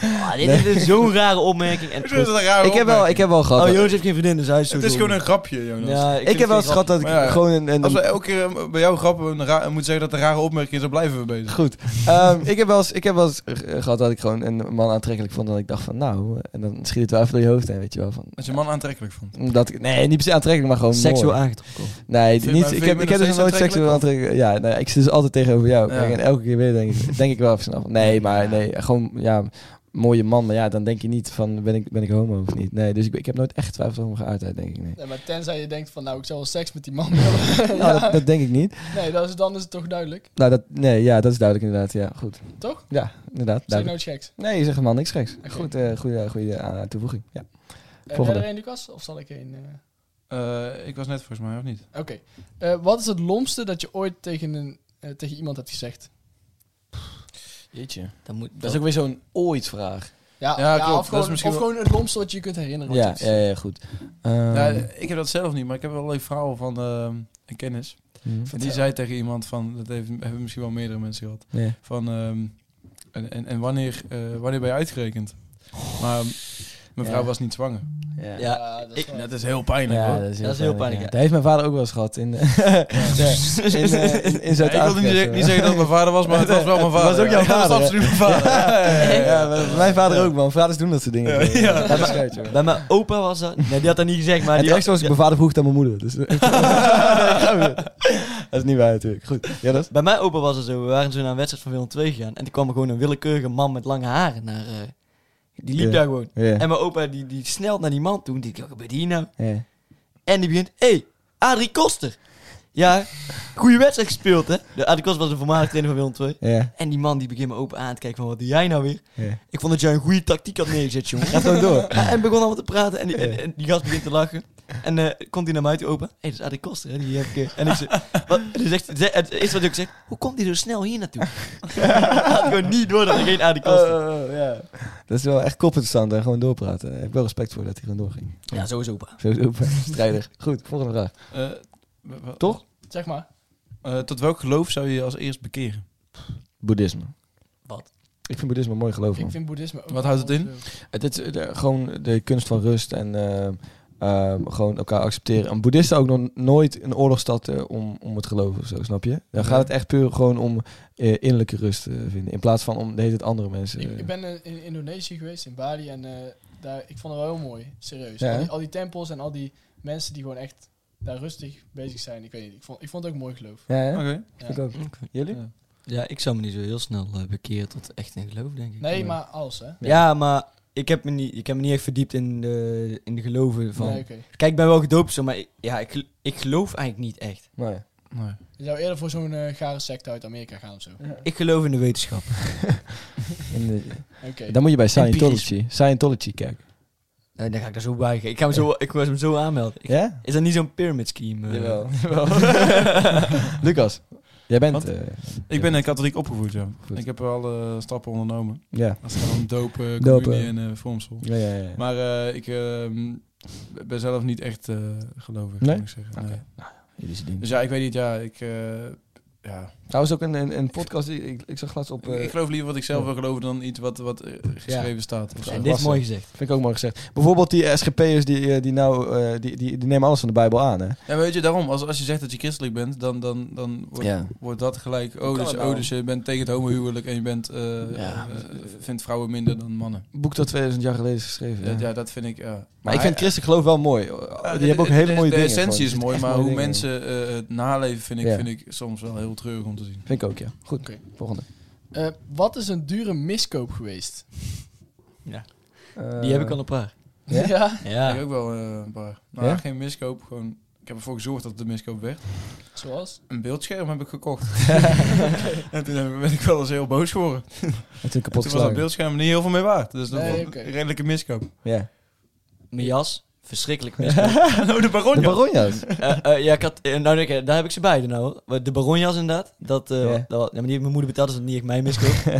Ah, dit is zo'n rare opmerking. En Ik vind het een rare ik, heb wel, ik opmerking. heb wel gehad. oh, dat- Jonas heeft geen vriendin, dus hij is zo Het is dom. gewoon een grapje, Jonas. Ja, ik heb wel eens gehad dat ik Maar ja, gewoon een, een- Als we elke keer eh, bij jou grappen een ra- moeten zeggen dat het een rare opmerking is, dan blijven we bezig. Goed. Ehm, ik heb wel eens, ik heb wel eens eh, gehad dat ik gewoon een man aantrekkelijk vond. Dat ik dacht van, nou, en dan schiet het wel even door je hoofd heen, weet je wel. Van, Als je een man aantrekkelijk vond. dat ik, nee, niet per se aantrekkelijk, maar gewoon dus seksueel mooi. aangetrokken. Nee, Vind je- niet, maar ik vind heb, je ik me heb dus nog nog nooit steeds seksueel aantrekkelijk. Ja, nee, ik zit dus altijd tegenover jou. Ja. Kijk, en elke keer weer denk <laughs> ik, denk ik wel even snel. Nee, maar nee, gewoon, ja, mooie man. Maar ja, dan denk je niet van, ben ik, ben ik homo of niet? Nee, dus ik, ik heb nooit echt getwijfeld over mijn geaardheid, denk ik. Nee. Nee, maar tenzij je denkt van, nou, ik zou wel seks met die man <laughs> willen. Nou, dat, dat denk ik niet. Nee, dat is, dan is het toch duidelijk. Nou, dat, nee, ja, dat is duidelijk inderdaad. Ja, goed. Toch? Ja, inderdaad. Zeg nou Duidelijk. iets geks. Nee, je zegt helemaal niks geks. Oké. Goed, eh goede, goede eh, toevoeging. Ja. Heb Eh, jij Volgende. er een, Lucas? Of zal ik een... eh? Eh, ik was net volgens mij, of niet? Oké. Eh, wat is het lomste dat je ooit tegen, een, eh, tegen iemand hebt gezegd? Jeetje. Dat, moet, Dat is ook weer zo'n ooit-vraag. Ja, Ja, ja, klopt. of, gewoon, Dat is misschien of wel- gewoon het lomste wat je je kunt herinneren. Ja, Zoiets. ja, ja, goed. Ehm, Ja, ik heb dat zelf niet, maar ik heb wel een leuk verhaal van ehm, een kennis. hm. En die zei tegen iemand van, dat heeft, hebben misschien wel meerdere mensen gehad, Nee. van ehm, en, en, en wanneer, eh, wanneer ben je uitgerekend? Maar mijn vrouw Ja. was niet zwanger. Ja. Ja, dat ik- wel- Dat is heel pijnlijk Ja, hoor. dat is heel, Dat is heel pijnlijk, pijnlijk, ja. Dat heeft mijn ja. vader ook wel eens gehad <laughs> in, eh, in, eh, in, in Ja, ik wilde Zuid-Afrika. eh, niet, zeggen- niet zeggen dat het mijn vader was, maar het was wel mijn <laughs> Het was vader. ook jouw Ja, <laughs> dat vader, was absoluut mijn vader. ja, <laughs> maar mijn vader ook, man. Vaders doen dat soort dingen. Ja, ja. Dat is schijt, joh. Bij mijn opa was dat. Nee, die had dat niet gezegd, maar En die <laughs> het was, ergste was, ik mijn vader vroeg het aan mijn moeder. Dus, <laughs> Nee, <laughs> gaan we weer. dat is niet waar natuurlijk. Goed, ja, dat is... bij mijn opa was het zo. We waren zo naar een wedstrijd van Willem 2 gegaan. En toen kwam er gewoon een willekeurige man met lange haren naar. eh, die liep Ja. daar gewoon. Ja. En mijn opa die, die snelt naar die man toe. Die dacht, wat gebeurt hier nou? Ja. En die begint, hé, hey, Adrie Koster. Ja, goede wedstrijd gespeeld, hè? De Adrie Koster was een voormalig trainer van Willem 2. Ja. En die man die begint me open aan te kijken van, wat doe jij nou weer? Ja. Ik vond dat jij een goede tactiek had neergezet, jongen. Gaat gewoon door. En begon allemaal te praten en die, en, en die gast begint te lachen. En eh, komt hij naar mij toe open. Hé, hey, dat is Adrie Koster, hè? Die heb ik, eh. en ik zeg, wat, dus echt, ze- het eerste wat ik zeg, hoe komt hij zo snel hier naartoe? <laughs> Hij eh, <laughs> had gewoon niet door dat er geen Adrie Koster Oh, ja. Dat is wel echt koppenstand en gewoon doorpraten. Ik heb wel respect voor dat hij gewoon doorging. Ja, sowieso opa. Zo open, strijder. Goed, volgende vraag. Eh, wa- wa- Toch? Zeg maar. Eh, tot welk geloof zou je je als eerst bekeren? Boeddhisme. Wat? Ik vind boeddhisme een mooi geloof. man. Ik vind boeddhisme ook Wat houdt het in? wel zo. Het is eh, de- gewoon de kunst van rust en eh, eh, gewoon elkaar accepteren. Een boeddhist zou ook nog nooit een oorlog starten om, om het geloof of zo, snap je? Dan gaat het echt puur gewoon om eh, innerlijke rust te vinden. In plaats van om de hele tijd andere mensen... Ik, ik ben eh, in Indonesië geweest, in Bali, en eh, daar, ik vond het wel heel mooi, serieus. Ja, Al, die, hè? al die tempels en al die mensen die gewoon echt daar rustig bezig zijn. Ik weet niet, ik vond, ik vond het ook mooi geloof. Ja, hè? Oké. Ja. Ik ook. Jullie? Ja, ik zou me niet zo heel snel eh, bekeren tot echt een geloof, denk ik. Nee, maar alles hè? Ja, maar ik heb, me niet, ik heb me niet echt verdiept in de, in de geloven van... Nee, oké. Kijk, ik ben wel gedoopt zo, maar ik, ja, ik, gel- ik geloof eigenlijk niet echt. Nee. Nee. Je zou eerder voor zo'n eh, gare secte uit Amerika gaan of zo. Oké. Ik geloof in de wetenschap. In de- Dan moet je bij Scientology, Scientology kijken. Nee, dan ga ik Eh, daar zo bij. Ik ga me zo, ik was hem zo aanmelden. Ik- Ja? Is dat niet zo'n pyramid scheme? eh? <laughs> Lucas, jij bent... Wat? eh, Ik ben eh, katholiek opgevoed, ja. Goed. Ik heb alle stappen ondernomen. ja. Als het gaat om dopen, Dopen. communie en eh vormsel. Ja, ja, ja. Maar eh, ik eh, ehm, ben zelf niet echt eh gelovig, Nee? moet ik zeggen. Oké. Nee. Jullie zijn ding. Dus ja, ik weet niet, ja, ik... eh, ja. Trouwens ook een, een, een podcast, die, ik, ik zag laatst op... eh, ik geloof liever wat ik zelf wil geloven dan iets wat, wat eh, geschreven staat. Of zo. En dit is Wassen. mooi gezegd. Vind ik ook mooi gezegd. Bijvoorbeeld die SGP'ers die, eh, die nou, eh, die, die, die nemen alles van de Bijbel aan, hè? Ja, maar weet je, daarom, als, als je zegt dat je christelijk bent, dan, dan, dan wordt, Ja. wordt dat gelijk. Oh dus, het nou? oh, dus je bent tegen het homohuwelijk en je bent, eh, Ja. eh, vindt vrouwen minder dan mannen. Boek dat 2000 jaar geleden is geschreven. Ja, ja. ja dat vind ik. Ja. Maar ik vind hij- christelijk geloof wel mooi. eh, die hebben ook hele mooie de, dingen. De gewoon. essentie is Er mooi, zitten maar echt mooie hoe dingen in. mensen eh, het naleven vind ik, Ja. vind ik soms wel heel treurig om te zien. Vind ik ook, ja. Goed, Oké. volgende. Eh, wat is een dure miskoop geweest? Die heb ik al een paar. Ja? Ik Ja. ook wel eh, een paar. Nou, Ja? geen miskoop, gewoon. Ik heb ervoor gezorgd dat het de miskoop werd. Zoals? Een beeldscherm heb ik gekocht. <laughs> en toen heb ik- ben ik wel eens heel boos geworden. Natuurlijk kapot Toen was dat geslagen. beeldscherm niet heel veel meer waard. Dus dat Nee, was oké. een redelijke miskoop. Ja. Mijn jas. Verschrikkelijk miskoop. oh, de baron. De baronjas. <laughs> Eh, eh, ja, ik had, eh, nou, denk ik, daar heb ik ze beide nou. hoor. Maar De baronjas inderdaad. Dat, eh, Ja. dat, ja, maar die heeft mijn moeder betaald, dus dat is niet echt mijn <laughs> miskoop.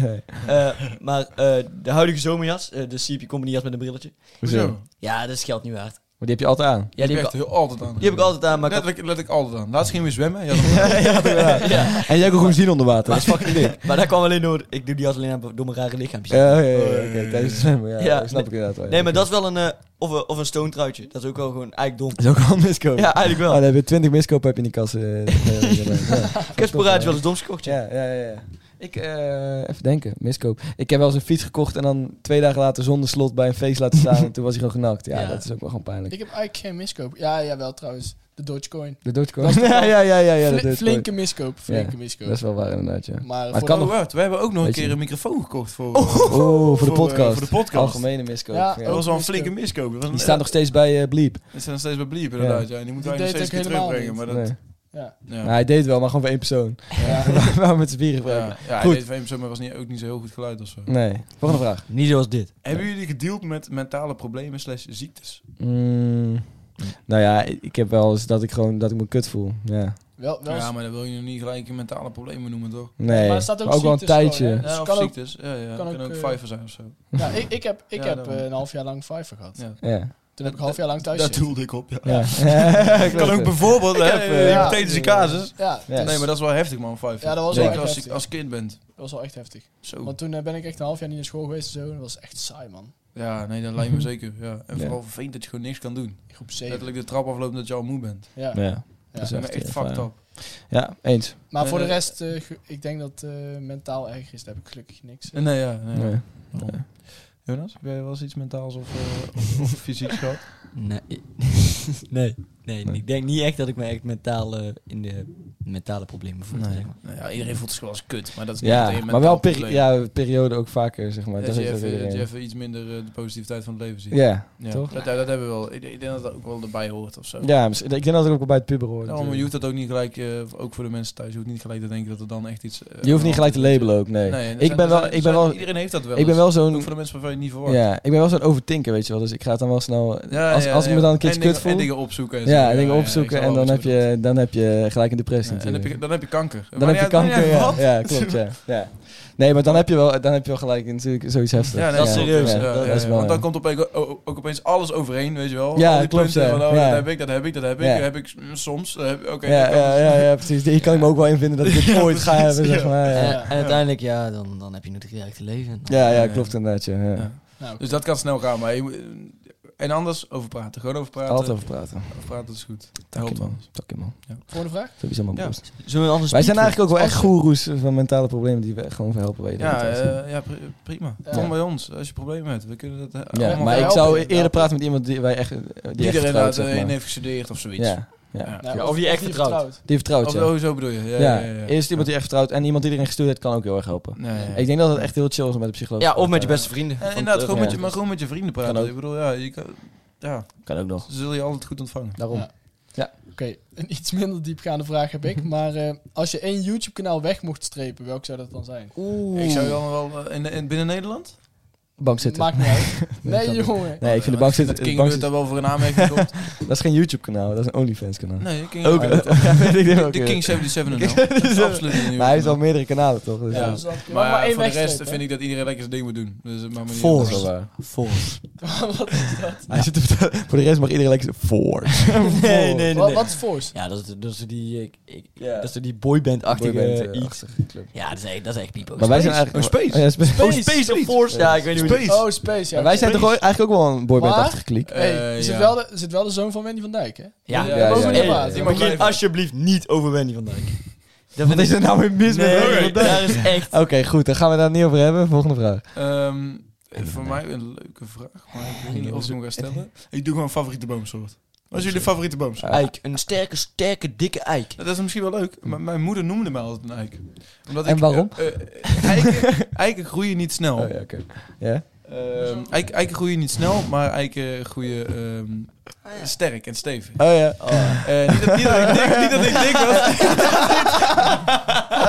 Eh, maar eh, de huidige zomerjas, eh, de CP Company jas met een brilletje. Hoezo? Maar Ja, dat is geld niet waard. die heb je altijd aan. Ja, die Die heb heb ik ik, al- heel altijd aan. die heb ik altijd aan, maar ik had- Letterlijk, let ik altijd aan. Laatst gingen we zwemmen. Ja, dan- <laughs> En jij hebt ook gewoon zien onder water. Dat is fucking dik. Oh, Maar dat kwam alleen door... Ik doe die jas alleen aan door mijn rare lichaampjes. Ja, ja, ja, ja, oké, Tijdens het zwemmen. Ja, Ja, dat snap ik inderdaad wel. ja. Nee, maar dat is wel een... eh, of, een- of een stoontruitje. Dat is ook wel gewoon eigenlijk dom. Dat is ook wel een miskoop. Ja, eigenlijk Oh, wel. dan heb je 20 miskopen heb je in die eh, kassen. ja. Ik heb sporadisch wel eens doms gekocht. ja. Ja, ja, ja. ja. Ik, eh, even denken, miskoop. Ik heb wel eens een fiets gekocht en dan twee dagen later zonder slot bij een feest laten staan. en toen was hij gewoon genakt. Ja, Ja. dat is ook wel gewoon pijnlijk. Ik heb eigenlijk geen miskoop. Ja, jawel trouwens. De Dogecoin. De Dogecoin. Dat is <laughs> toch ja, wel ja, ja, ja, ja. de Fli- Dogecoin. flinke miskoop. Flinke Ja, miskoop. Dat is wel waar inderdaad, ja. Maar, het voor kan Oh, nog- wacht, We hebben ook nog een Weet je. keer een microfoon gekocht voor... Oh, voor de Voor, eh, podcast. voor de podcast. Algemene miskoop. Ja, Ja, Dat was wel een Miskoop. flinke miskoop. Dat was Die een- staan nog steeds bij eh Bleep. Die staan nog steeds bij Bliep, inderdaad. Ja. En die moeten wij Die nog deed steeds een ik keer helemaal terugbrengen. Nee. Maar dat... Ja. Ja. Nou, hij deed het wel, maar gewoon voor één persoon. Waarom met z'n vieren gebruiken? Ja, ja, Goed. Goed. Deed zo, maar was niet, ook niet zo heel goed geluid of zo. Nee. Volgende vraag. Niet zoals dit. Hebben jullie gedeeld met mentale problemen slash ziektes? Mm, nou ja, ik heb wel eens dat ik gewoon dat ik me kut voel. Ja. Wel, wel Ja, maar dat wil je nog niet gelijk een mentale problemen noemen, toch? Nee. Maar er staat ook wel een ziektes tijdje. gewoon, hè? Ja, Dus of kan ook- ziektes. ja, ja. kan Kan, ook, ook eh, vijver zijn of zo. Ja, ik, ik heb, ik Ja, heb daarom. eh, een half jaar lang Fiverr gehad. Ja. ja. Toen heb ik een half jaar lang thuis Dat zitten. doelde ik op, ja. Ja. Kan ook bijvoorbeeld, hè, heb, eh, eh, ja. hypothetische casus. Ja, Ja. dus Nee, maar dat is wel heftig, man, vijver. Ja, dat was wel Zeker echt als, je- heftig. als kind bent. dat was wel echt heftig. Zo. Want toen eh, ben ik echt een half jaar niet naar school geweest en zo. Dat was echt saai, man. Ja, nee, dat lijkt <laughs> me zeker. Ja. En Ja. vooral vervelend dat je gewoon niks kan doen. In Groep 7. Letterlijk de trap aflopen dat je al moe bent. Ja. Ja. Ja. Dat is echt echt heel fucked fijn. up. ja, eens. Maar voor de Eh, rest, eh, ge- ik denk dat eh, mentaal erg is. Daar heb ik gelukkig niks. eh. Nee, ja. Nee. Nee. Waarom? Jonas, heb jij wel eens iets mentaals of, eh, of- of fysiek <laughs> gehad? Nee. <laughs> nee. Nee, ik denk niet echt dat ik me echt mentaal eh, in de mentale problemen voel. zeg maar. Nou ja, iedereen voelt zich wel eens kut, maar dat is niet meteen Ja, een maar wel mentaal peri- probleem. ja, periode ook vaker, zeg maar. dat dat je, is ook even, dat je iedereen. even iets minder eh, de positiviteit van het leven ziet. Ja, Ja, toch? Dat, dat hebben we wel. Ik, ik denk dat dat ook wel erbij hoort of zo. Ja, misschien- ik denk dat ik ook wel bij het puber hoor. Daarom, je hoeft dat ook niet gelijk, eh, ook voor de mensen thuis, je hoeft niet gelijk te denken dat er dan echt iets... eh, Je hoeft niet gelijk te labelen ook, Nee, nee. er ik, zijn- ben er wel, zijn- ik er ben wel, zijn- Iedereen heeft dat wel ik ben eens. wel Ook zo'n... voor de mensen waarvan je het niet verwacht. Ja, ik ben wel zo'n overtinker, weet je wel. Dus ik ga het dan wel snel... als, als ik me dan een keertje en kut dingen, En voel... dingen opzoeken. En zo. Ja, en dingen ja, opzoeken ik en snap dan wel heb, wat bedoelt. je, dan heb je gelijk een Ja, depressie en dan natuurlijk. heb je, dan heb je kanker. Dan heb je kanker, ja. Ja, ja. Klopt, ja. ja. Nee, maar dan heb je wel, dan heb je wel gelijk natuurlijk zoiets heftigs. <laughs> Ja, nee, Dat is serieus, Ja, hè. ja, dat is ja. wel... Want dan komt opeens, ook, ook opeens alles overeen, weet je wel. Ja, Al die klopt, punten ja. Van, oh, Ja. Dat heb ik, dat heb ik, dat heb ik, Ja. dat heb ik mm, soms. eh, heb- Oké, ja, dat kan. ja, ja, ja, precies. <laughs> Hier kan ik me ook wel in vinden dat ik het Ja, ooit ga precies, hebben, zeg ja. maar. En, Ja, Eh, en uiteindelijk, ja, dan, dan heb je natuurlijk direct te leven. ja, ja, Ja. klopt inderdaad, ja. ja. Ja. Nou, Dus dat kan snel gaan, maar je moet- en anders over praten. Gewoon over praten. Altijd over praten. Over praten is goed. Dat Dank je, helpt man. dan. Dank je, man. volgende vraag. Sowieso, man. Ja. broers. Zullen we anders Wij zijn eigenlijk ook wel echt goeroes van mentale problemen die we gewoon verhelpen bij je. de Ja, hele tijd. eh, ja pri- prima. Ja. Kom bij ons als je problemen hebt. We kunnen dat eh, ja, allemaal maar ik helpen. zou helpen. eerder praten met iemand die wij echt eh, Die die er echt vertrouwt, inderdaad zeg eh, in maar. heeft gestudeerd of zoiets. Ja, ja. Ja. Nou, of je echt vertrouwt. die vertrouwt, Of ja. oh, zo bedoel je. Ja, Ja, ja, ja, ja. eerst iemand die echt vertrouwt en iemand die erin gestuurd heeft kan ook heel erg helpen. Nee, ja. Ik denk dat het echt heel chill is om met de psycholoog. Ja, te of met je praten. beste vrienden. En Want, inderdaad, eh, gewoon, ja. met je, maar gewoon met je vrienden Kan praten. ook. Ik bedoel, ja, je kan, ja, Kan ook nog. ze zullen je altijd goed ontvangen. Daarom. Ja. Oké, een iets minder diepgaande vraag heb ik. Maar eh, als je één YouTube-kanaal weg mocht strepen, welk zou dat dan zijn? Ik zou je dan wel eh, in, in, binnen Nederland? Bank zitten. Maakt niet uit. kan Nee, niet. jongen. <laughs> Nee, ik vind de bank Dat zitten. King bank zitten- doet daar wel voor een <laughs> aanmerking komt. Dat is geen YouTube kanaal, dat is een OnlyFans kanaal. Nee, King Ook. de, <laughs> Ja, weet ik ook de weer. King 77 <laughs> en al. Dat is absoluut niet nieuw. Maar hij heeft al meerdere kanalen toch? Dus Ja. dat is- Dus dan kun je Maar, maar één voor de rest wegstrepen, vind ik dat iedereen lekker zijn ding moet doen. Dus het maakt me niet Vol. dat uit. is wel eh, waar. <laughs> Volgens. hè? wat is dat? Hij zit te vertellen- voor de rest mag iedereen lekker voor. <laughs> nee, nee, Wat, nee. wat is Force? Ja, dat is, dat is die, eh, ik, ik- Ja. dat is die boyband-achtige Boyband, eh, iets. Ja, dat is echt, dat is echt pipo. Maar wij zijn eigenlijk... Oh, Space. Oh, ja, Space. Oh, Space, of Force. Ja, ik weet niet hoe die- Space. Oh, Space, ja. Maar wij zijn oké. toch wel- eigenlijk ook wel een boyband-achtige Maar- kliek. Hey, Eh, er zit, ja. wel de, er zit wel de zoon van Wendy van Dijk, hè? Ja, Ja, ja, ja, ja, ja, ja. Ik begin alsjeblieft niet over Wendy van Dijk. Dat Wat is er nou weer mis met Nee, Wendy want daar is echt... Oké, goed. Dan gaan we daar niet over hebben. Volgende vraag. Ehm, voor mij een leuke vraag, maar ik weet niet of ik hem ga stellen. <laughs> Ik doe gewoon favoriete boomsoort. Wat is jullie favoriete boomsoort? Eik, een sterke, sterke, dikke eik. Dat is misschien wel leuk, maar mijn moeder noemde mij altijd een eik. Omdat En waarom? eh, eh, <laughs> eiken, eiken groeien niet snel. Oh, ja, oké. Ja? Ehm, eik- eiken groeien niet snel, maar eiken groeien ehm, sterk en stevig. Oh ja. <laughs> Eh, niet, dat, niet dat ik dik, niet dat ik dik was. <laughs>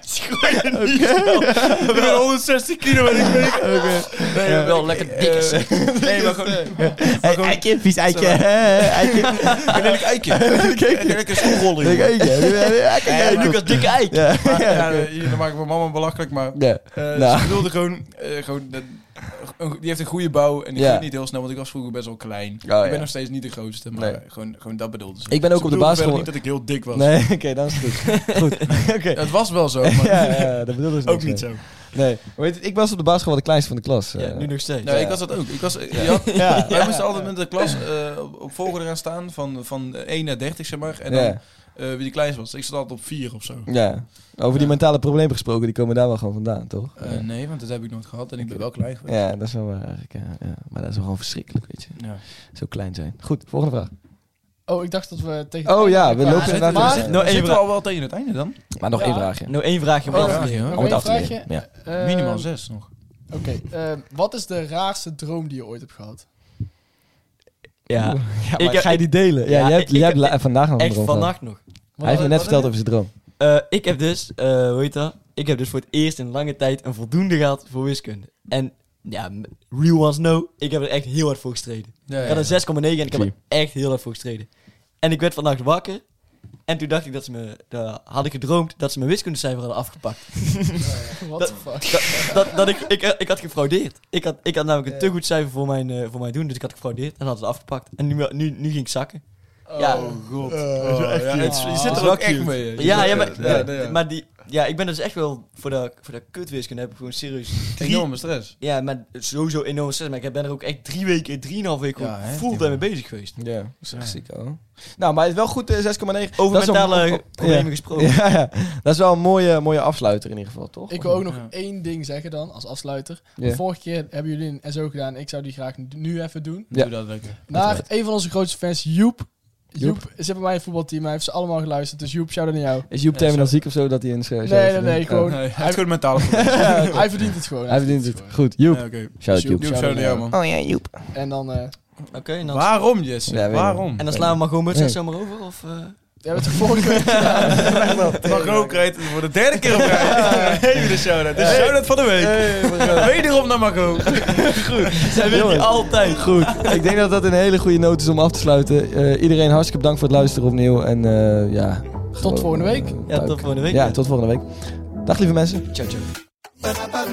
Schoon niet wel. Ik ben 160 kilo en ik ben... Nee, maar wel lekker dikke. zeg. Eh, Nee, maar gewoon... Hey, Eh, eitje, vies eitje. Eitje. Een lelijk <laughs> eitje. Een lelijke schoolrol. Leuk jongen. eitje. Hey, Eh, Lucas, dikke eik. <laughs> Ja. Maar, ja, eh, dan maak ik mijn mama belachelijk, maar... Ja. eh Nou. Ze bedoelde gewoon... eh, gewoon dat- een- die heeft een goede bouw en die Ja. Oh, groeit niet heel snel, want ik was vroeger best wel klein. ik ben ja. nog steeds niet de grootste, maar Nee. eh, gewoon, gewoon dat bedoelde ze. Ik ben ook Ze op de bedoelde basisschool- verder niet dat ik heel dik was. Nee, oké, dan is het goed. <laughs> Goed. <laughs> Oké. Het was wel zo, maar <laughs> Ja, ja, dat bedoelde ze Oh, ook niks niet mee. zo. Nee. Weet je, ik was op de basisschool wel de kleinste van de klas. Ja, eh. nu nog steeds. Nee, ik was dat ook. Ik was, je had- Ja. Wij moesten altijd met de klas eh, op, op volgorde gaan staan van, van 1 naar 30, zeg maar. En dan Ja. eh, wie de kleinste was. Ik zat altijd op 4 of zo. Ja. Over die mentale problemen gesproken, die komen daar wel gewoon vandaan, toch? Eh, nee, want dat heb ik nooit gehad en ik ben wel klein geweest. Ja, dat is wel waar eigenlijk. Ja, ja. Maar dat is wel gewoon verschrikkelijk, weet je. Ja. Zo klein zijn. Goed, volgende vraag. Oh, ik dacht dat we tegen... Oh ja, we Ja, lopen zit- inderdaad... maar- tegen- Nou, Zitten één we vraag. al wel tegen het einde dan? Maar nog één Ja. vraagje. Nou, één vraagje. Oh, maar- ja. hè? Nog Om het één af te vraagje? leren. <laughs> Ja. Eh, Minimaal 6 nog. Oké, eh, wat is de raarste droom die je ooit hebt gehad? Ja, maar Ik- ga je die delen? Ja, Ja, jij hebt, ik- jij hebt ik- la- vandaag nog een echt droom gehad. vannacht nog. Hij heeft me net Wat- verteld over zijn droom. Eh, ik heb dus, eh, hoe heet dat? Ik heb dus voor het eerst in lange tijd een voldoende gehad voor wiskunde. En ja, m- real ones know, ik heb er echt heel hard voor gestreden. Ja, Ik had een 6,9 en ik heb er Zie. echt heel hard voor gestreden. En ik werd vannacht wakker. En toen dacht ik dat ze me, daar had ik gedroomd dat ze mijn wiskundecijfer hadden afgepakt. What the fuck? Dat, dat, dat ik, ik, ik had gefraudeerd. Ik had, ik had namelijk een te goed cijfer voor mijn, eh, voor mijn doen, dus ik had gefraudeerd en had het afgepakt. En nu, nu, nu ging ik zakken. Ja. Oh god. Eh, Oh, ja, het is- je zit er ook echt mee. hè. Je Ja, zit- ja, maar, ja, nee, ja. maar die, ja, ik ben dus echt wel voor dat, voor dat kutwiskunde heb ik gewoon serieus drie, Enorme stress. Ja, maar sowieso enorm stress. Maar ik ben er ook echt drie weken, drieënhalf weken Ja, hè, ja, fulltime mee bezig geweest. Ja, dat is echt ziek, hoor. Nou, maar het is wel goed, eh, 6,9. Over Dat is wel- mentale oh, problemen ja. gesproken. Ja, ja, dat is wel een mooie, mooie afsluiter in ieder geval, toch? Ik wil ook nog Ja. één ding zeggen dan, als afsluiter. Ja. Vorige keer hebben jullie een SO gedaan. Ik zou die graag nu even doen. Ja. Doe dat lekker. Naar Uiteraard. een van onze grootste fans, Joep. Joep. Joep zit bij mij in het voetbalteam. Hij heeft ze allemaal geluisterd. Dus Joep, shout-out aan <laughs> jou. Is Joep terminal ziek of zo dat hij een schrijf Nee, nee, nee. Gewoon, Nee, het hij, is goed mentale problemen. hij verdient het gewoon. Hij verdient het. Goed, Joep. Ja, oké. Shout-out Joep. Joep. Doe zo naar jou, man. Oh ja, Joep. gewoon. En dan... eh, Oké, en dan, Waarom, Jesse? Ja, weet ik. Waarom? en dan slaan we maar gewoon met Nee. z'n zomaar over? <laughs> Of, eh? we hebben het de <laughs> vorige keer Mag ook rijden voor de derde keer op rij. Even de shout-out. De shout-out van de week. Wederom naar Marco. Zij wint die Jongens. altijd. Goed, <laughs> ik denk dat dat een hele goede noot is om af te sluiten. Eh, iedereen hartstikke bedankt voor het luisteren opnieuw. En eh, ja... gewoon, volgende week. eh, Ja, puik. tot volgende week. Ja, tot volgende week. Dag lieve mensen. Ciao, ciao.